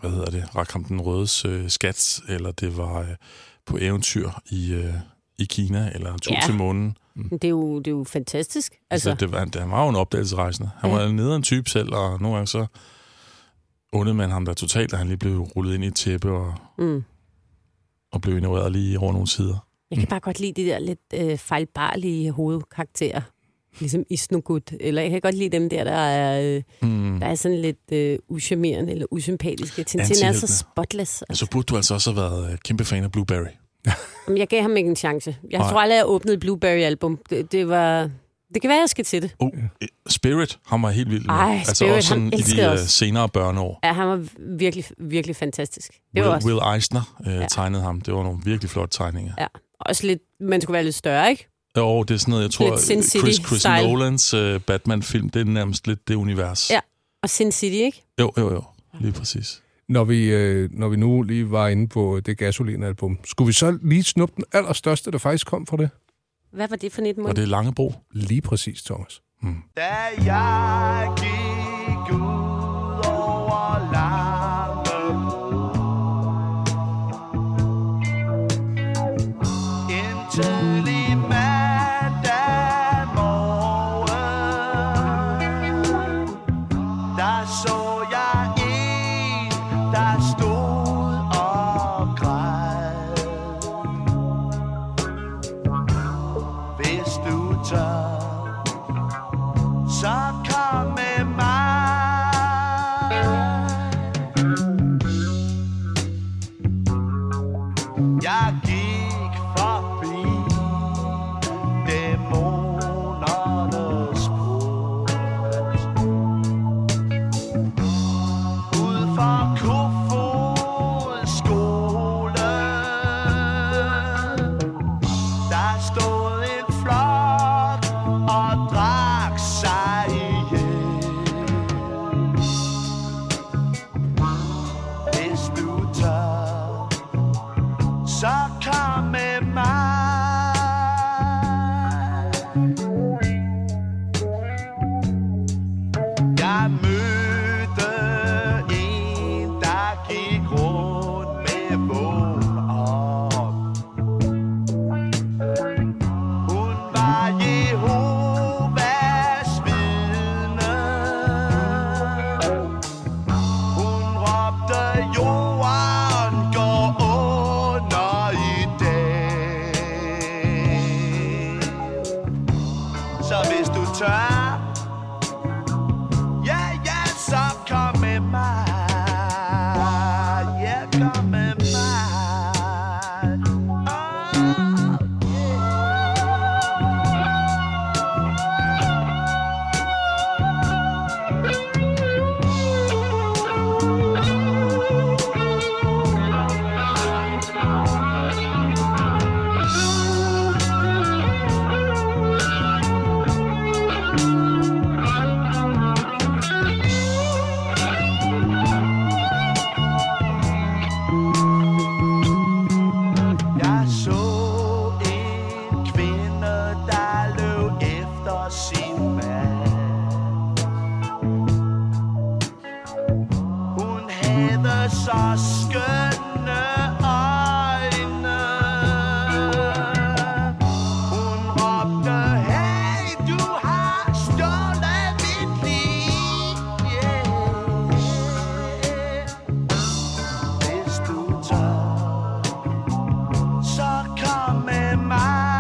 [SPEAKER 7] hvad hedder det, Rakam den Rødes øh, skat, eller det var øh, på eventyr i, øh, i Kina, eller en tur
[SPEAKER 3] Ja.
[SPEAKER 7] til månen.
[SPEAKER 3] Men Det er jo, det er jo fantastisk.
[SPEAKER 7] Altså. Så
[SPEAKER 3] Altså,
[SPEAKER 7] det var, han var jo en opdagelsesrejsende. Han
[SPEAKER 3] Ja.
[SPEAKER 7] var en nederen type selv, og nogle gange så undede man ham der totalt, at han lige blev rullet ind i et tæppe og,
[SPEAKER 3] mm.
[SPEAKER 7] og blev ignoreret lige over nogle sider.
[SPEAKER 3] Jeg kan bare godt lide de der lidt øh, fejlbarlige hovedkarakterer. Ligesom Isnogut. Eller jeg kan godt lide dem der, der er, øh,
[SPEAKER 7] Mm.
[SPEAKER 3] der er sådan lidt øh, uschammerende eller usympatiske. Tintin er
[SPEAKER 7] Antihelt,
[SPEAKER 3] så
[SPEAKER 7] ja.
[SPEAKER 3] spotless.
[SPEAKER 7] Så burde du altså også have været øh, kæmpe fan af Blueberry.
[SPEAKER 3] Jamen, jeg gav ham ikke en chance. Jeg
[SPEAKER 7] Nej.
[SPEAKER 3] tror aldrig, jeg åbnede et Blueberry-album. Det, det, var... Det kan være, jeg skal til det.
[SPEAKER 7] Oh, øh, Spirit, han var helt vild med.
[SPEAKER 3] Ej,
[SPEAKER 7] altså
[SPEAKER 3] Spirit,
[SPEAKER 7] også sådan
[SPEAKER 3] ham
[SPEAKER 7] i
[SPEAKER 3] elskede
[SPEAKER 7] de øh,
[SPEAKER 3] os.
[SPEAKER 7] senere børneår.
[SPEAKER 3] Ja, han var virkelig, virkelig fantastisk. Det
[SPEAKER 7] Will,
[SPEAKER 3] var også,
[SPEAKER 7] Will Eisner øh, ja. tegnede ham. Det var nogle virkelig flotte tegninger.
[SPEAKER 3] Ja, også lidt... Man skulle være lidt større, ikke?
[SPEAKER 7] Jo, det er sådan noget, jeg tror,
[SPEAKER 3] Lidt Sin
[SPEAKER 7] øh, Chris,
[SPEAKER 3] City-style.
[SPEAKER 7] Chris Nolans øh, Batman-film, det er nærmest lidt det univers.
[SPEAKER 3] Ja. Og Sin City, ikke?
[SPEAKER 7] Jo, jo, jo. Lige præcis.
[SPEAKER 2] Når vi, øh, når vi nu lige var inde på det gasolin-album, skulle vi så lige snuppe den allerstørste, der faktisk kom fra det?
[SPEAKER 3] Hvad var det for 19
[SPEAKER 2] Og
[SPEAKER 3] måneder?
[SPEAKER 2] det er Langebro? Lige præcis, Thomas. Mm.
[SPEAKER 5] Da jeg gik ud over Langebro En tidlig mandag morgen Der så jeg en, der stod og græd Hvis du tør så kom med mig. Jeg gik forbi dæmonernes port. Ud for Kofods skole, der stod en flok og drak sig ihjel.
[SPEAKER 13] så skønne øjne. Hun råbte, hey, du har stjålet mit liv. Yeah. Hvis du tør, så kom med mig.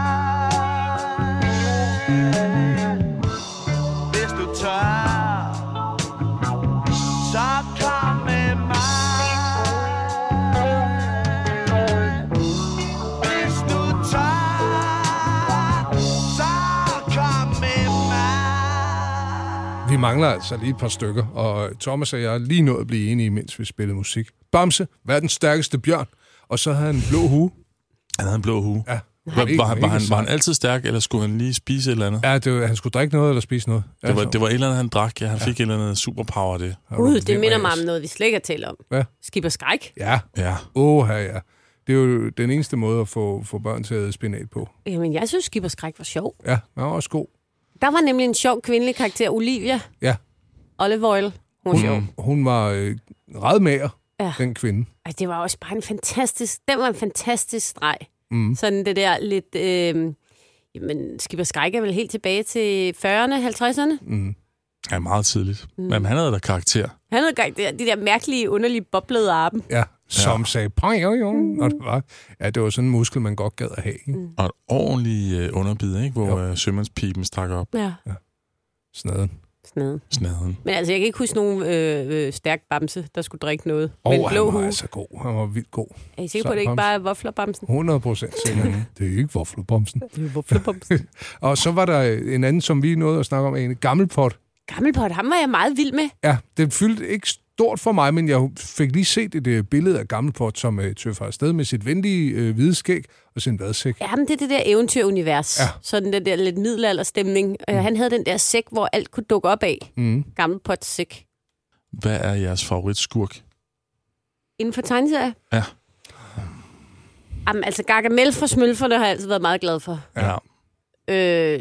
[SPEAKER 13] Hvis du tør, så kom med mig. Hvis du tør, så kom med mig.
[SPEAKER 2] Vi mangler altså lige et par stykker, og Thomas og jeg er lige nået at blive enige, mens vi spillede musik. Bamse, verdens stærkeste bjørn, og så havde han en blå hue.
[SPEAKER 4] Han havde en blå hue.
[SPEAKER 2] Ja.
[SPEAKER 4] Var, var, han, var, han, var han altid stærk, eller skulle han lige spise et eller andet?
[SPEAKER 2] Ja, det var, han skulle drikke noget eller spise noget. Altså. Ja,
[SPEAKER 4] Det var,
[SPEAKER 2] så-
[SPEAKER 4] det var et eller andet, han drak. Ja, han fik et eller andet superpower af det.
[SPEAKER 3] Gud, det minder mig om noget, vi slet ikke har talt om.
[SPEAKER 2] Hvad?
[SPEAKER 3] Skib og skræk.
[SPEAKER 2] Ja.
[SPEAKER 4] Ja.
[SPEAKER 2] Åh, ja. Det er jo den eneste måde at få, få børn til at æde spinat på.
[SPEAKER 3] Jamen, jeg synes, Skib og skræk var sjov.
[SPEAKER 2] Ja, han var også god.
[SPEAKER 3] Der var nemlig en sjov kvindelig karakter, Olivia
[SPEAKER 2] Ja. Mm.
[SPEAKER 3] Olive Oil. Hun var sjov.
[SPEAKER 2] Hun, hun var øh, ret mager,
[SPEAKER 3] Ja.
[SPEAKER 2] ja. den kvinde.
[SPEAKER 3] Altså, det var også bare en fantastisk... Den var en fantastisk streg. Mm.
[SPEAKER 2] Mm.
[SPEAKER 3] Sådan det der lidt... Øh, jamen, Skib og skræk er vel helt tilbage til 40'erne, 50'erne?
[SPEAKER 4] Mm. Ja, meget tidligt.
[SPEAKER 3] Mm.
[SPEAKER 4] Mm. Men han havde da karakter.
[SPEAKER 3] Han havde gang de der mærkelige, underlige, boblede arme.
[SPEAKER 2] Ja, som ja. sagde, "Pang, jo, jo,
[SPEAKER 3] Mm.
[SPEAKER 2] når det var. Ja, det var sådan en muskel, man godt gad at have. Ikke? Mm.
[SPEAKER 4] Og et ordentligt øh, underbid, ikke? hvor øh, sømandspipen stak op.
[SPEAKER 3] Ja.
[SPEAKER 2] Snaden.
[SPEAKER 3] Snaden.
[SPEAKER 4] Snaden.
[SPEAKER 3] Men altså, jeg kan ikke huske nogen øh, øh, stærk bamse, der skulle drikke noget.
[SPEAKER 2] Åh,
[SPEAKER 3] med en
[SPEAKER 2] oh,
[SPEAKER 3] blå
[SPEAKER 2] han var
[SPEAKER 3] hue.
[SPEAKER 2] altså god. Han var vildt god.
[SPEAKER 3] Er I sikre på, at det ikke bare er vaflerbamsen?
[SPEAKER 2] 100 procent sikkert. det er ikke vaflebomsen.
[SPEAKER 3] Det er vaflebomsen.
[SPEAKER 2] og så var der en anden, som vi nåede at snakke om, en gammelpot.
[SPEAKER 3] Gammelpot, ham var jeg meget vild med.
[SPEAKER 2] Ja, det fyldte ikke stort for mig, men jeg fik lige set et øh, billede af gammelpot, som øh, tøffer afsted med sit venlige øh, hvide skæg og sin vadsæk.
[SPEAKER 3] Ja, men det er det der eventyrunivers. Ja.
[SPEAKER 2] Ja.
[SPEAKER 3] Sådan den der lidt middelalderstemning. Mm. Han havde den der sæk, hvor alt kunne dukke op af.
[SPEAKER 4] Mm.
[SPEAKER 3] Gammelpots sæk.
[SPEAKER 4] Hvad er jeres favoritskurk?
[SPEAKER 3] Inden for tegneserier?
[SPEAKER 4] Ja.
[SPEAKER 3] Jamen, altså Gargamel fra Smølferne har jeg altid været meget glad for.
[SPEAKER 4] ja.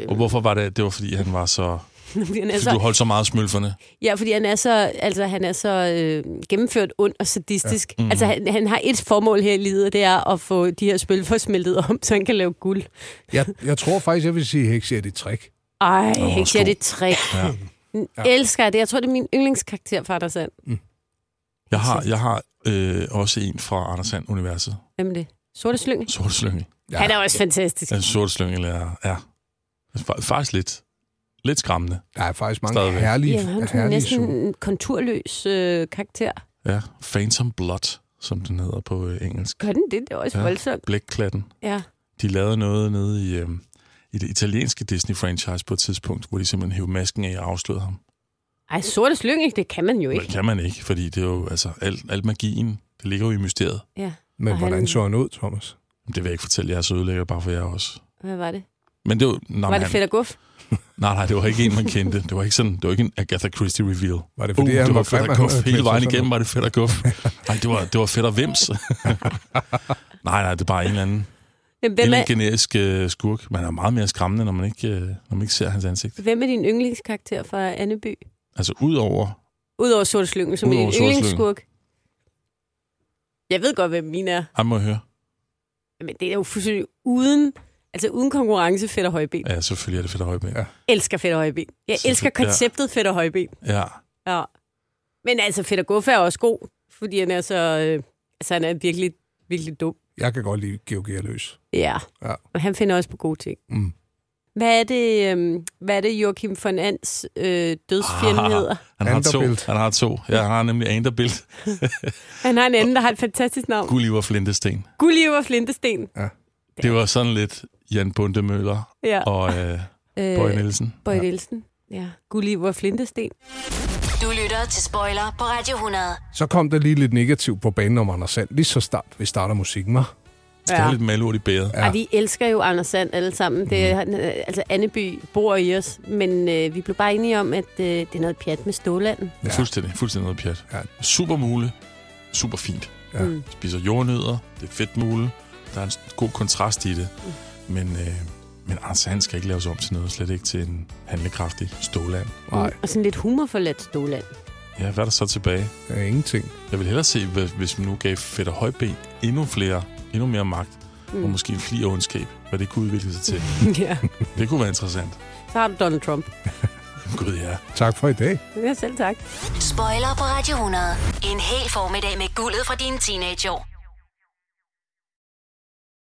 [SPEAKER 3] Øh,
[SPEAKER 4] Og hvorfor var det? Det var, fordi han var så...
[SPEAKER 3] fordi han er
[SPEAKER 4] Fordi du
[SPEAKER 3] så,
[SPEAKER 4] holdt så meget af smølferne.
[SPEAKER 3] ja, fordi han er så, altså, han er så øh, gennemført ond og sadistisk. Ja.
[SPEAKER 4] Ja.
[SPEAKER 3] Mm.
[SPEAKER 4] Mhm.
[SPEAKER 3] Altså, han, han har et formål her i livet, og det er at få de her smølfer smeltet om, så han kan lave guld.
[SPEAKER 2] Jeg, jeg tror faktisk, jeg vil sige, at Hexia er det trick.
[SPEAKER 3] Ej,
[SPEAKER 2] Nå,
[SPEAKER 3] ikke
[SPEAKER 2] sko.
[SPEAKER 3] det trick.
[SPEAKER 4] Ja.
[SPEAKER 3] Ja. Elsker jeg det. Jeg tror, det er min yndlingskarakter fra Anders Sand.
[SPEAKER 4] Jeg har, jeg har øh, også en fra Anders Sand Universet.
[SPEAKER 3] Hvem er det? Sorte Slynge?
[SPEAKER 4] Sorte Slynge.
[SPEAKER 3] Ja. Han er også fantastisk.
[SPEAKER 4] En sorte slynge er, ja. Fa- Faktisk lidt. Lidt skræmmende.
[SPEAKER 2] Der er faktisk mange
[SPEAKER 4] Stadigvæk.
[SPEAKER 2] herlige,
[SPEAKER 3] Ja, han er
[SPEAKER 2] herlige
[SPEAKER 3] næsten
[SPEAKER 2] super-
[SPEAKER 3] en konturløs øh, karakter.
[SPEAKER 4] Ja. Phantom Blood, som den hedder på øh, engelsk.
[SPEAKER 3] Gør den det? Det er også ja. voldsomt.
[SPEAKER 4] Blækklatten.
[SPEAKER 3] Ja.
[SPEAKER 4] De lavede noget nede i, øh, i det italienske Disney-franchise på et tidspunkt, hvor de simpelthen hævde masken af og afslørede ham.
[SPEAKER 3] Ej, sorte slynge, det kan man jo
[SPEAKER 4] Men det
[SPEAKER 3] ikke.
[SPEAKER 4] kan man ikke, fordi det er jo, altså, alt, alt magien, det ligger jo i mysteriet.
[SPEAKER 3] Ja.
[SPEAKER 2] Men
[SPEAKER 3] Og
[SPEAKER 2] hvordan
[SPEAKER 3] han-
[SPEAKER 2] så han ud, Thomas?
[SPEAKER 4] Det vil jeg ikke fortælle jer, så ødelægger bare for jer også.
[SPEAKER 3] Hvad var det?
[SPEAKER 4] Men det var, nej,
[SPEAKER 3] var det
[SPEAKER 4] han-
[SPEAKER 3] fedt og guf?
[SPEAKER 4] Nej, nej, det var ikke en, man kendte. Det var ikke sådan, det var ikke en Agatha Christie reveal.
[SPEAKER 2] Var det fordi, han
[SPEAKER 4] Uh, det
[SPEAKER 2] var
[SPEAKER 4] var fedt
[SPEAKER 2] grim,
[SPEAKER 4] og
[SPEAKER 2] at han
[SPEAKER 4] guf.
[SPEAKER 2] havde
[SPEAKER 4] Hele
[SPEAKER 2] klædt sig
[SPEAKER 4] vejen
[SPEAKER 2] sådan?
[SPEAKER 4] igennem var det fedt og guf. Nej, det var, det var fedt og vims. nej, nej, det er bare en eller anden,
[SPEAKER 3] Jamen,
[SPEAKER 4] en
[SPEAKER 3] hvem,
[SPEAKER 4] eller
[SPEAKER 3] er,
[SPEAKER 4] anden generisk øh, skurk. Man er meget mere skræmmende, når man ikke, øh, når man ikke ser hans ansigt.
[SPEAKER 3] hvem er din yndlingskarakter fra Anneby?
[SPEAKER 4] Altså, udover...
[SPEAKER 3] Udover sorte slynge, som er
[SPEAKER 4] Udover
[SPEAKER 3] din
[SPEAKER 4] Sorte Slynge.
[SPEAKER 3] yndlingsskurk. Jeg ved godt, hvem min er.
[SPEAKER 4] Han må jeg høre.
[SPEAKER 3] Men det er jo fuldstændig uden, altså uden konkurrence fedt og højben.
[SPEAKER 4] Ja, selvfølgelig er det fedt og højben. Ja.
[SPEAKER 3] Elsker fedt og højben. Jeg
[SPEAKER 4] Selvfølgelig,
[SPEAKER 3] elsker
[SPEAKER 4] ja.
[SPEAKER 3] konceptet fedt og højben.
[SPEAKER 4] ja.
[SPEAKER 3] Ja. Men altså, Fedder Guffe er også god, fordi han er så... Øh, altså, han er virkelig, virkelig dum.
[SPEAKER 2] Jeg kan godt lide Georgia Løs.
[SPEAKER 3] Ja.
[SPEAKER 2] Ja.
[SPEAKER 3] Og han finder også på gode ting.
[SPEAKER 2] Mm.
[SPEAKER 3] Hvad er det, øh, hvad er det Joachim von Ans øh, dødsfjende hedder?
[SPEAKER 4] Han har to.
[SPEAKER 2] Vanderbilt.
[SPEAKER 4] Han har to. Ja, han har nemlig Anderbilt.
[SPEAKER 3] Han har en anden, der har et fantastisk navn.
[SPEAKER 4] Gulliver Flintesten.
[SPEAKER 3] Gulliver Flintesten.
[SPEAKER 4] Det var sådan lidt Jan Bundemøller
[SPEAKER 3] Ja.
[SPEAKER 4] og øh, Bøje Nielsen.
[SPEAKER 3] Bøj Nielsen. Ja. Gulliver Flintesten.
[SPEAKER 1] Du lytter til Spoiler på Radio 100.
[SPEAKER 2] Så kom der lige lidt negativt på banen om Anders Sand, lige så start, vi starter musikken, var.
[SPEAKER 3] Skal have Ja.
[SPEAKER 4] lidt malurt i bæret.
[SPEAKER 3] Ja. Og vi elsker jo Anders Sand alle sammen. Det er, han, øh, altså, Anneby bor i os, men øh, vi blev bare enige om, at øh, det er noget pjat med Stålanden.
[SPEAKER 4] Ja. Fuldstændig, fuldstændig noget pjat. Ja. Super mule, super fint.
[SPEAKER 2] Ja.
[SPEAKER 3] Mm.
[SPEAKER 4] Spiser jordnødder, det er fedt mule. Der er en god kontrast i det.
[SPEAKER 3] Mm.
[SPEAKER 4] Men, øh, men
[SPEAKER 7] altså,
[SPEAKER 4] Anders Hand skal ikke laves om til noget, slet ikke til en handlekraftig ståland.
[SPEAKER 3] Og sådan lidt humorforladt Ståland.
[SPEAKER 7] Ja, hvad er der så tilbage?
[SPEAKER 2] Ja, ingenting.
[SPEAKER 7] Jeg vil hellere se, hvad- hvis man nu gav Fætter Højben endnu flere, endnu mere magt, mm.
[SPEAKER 3] Mm.
[SPEAKER 7] og måske en fli af ondskab, hvad det kunne udvikle sig til.
[SPEAKER 3] ja.
[SPEAKER 7] det kunne være interessant.
[SPEAKER 3] Så har du Donald Trump.
[SPEAKER 7] Gud ja.
[SPEAKER 2] Tak for i dag.
[SPEAKER 3] Ja, selv tak.
[SPEAKER 1] Spoiler på Radio 100. En hel formiddag med guldet fra dine teenageår.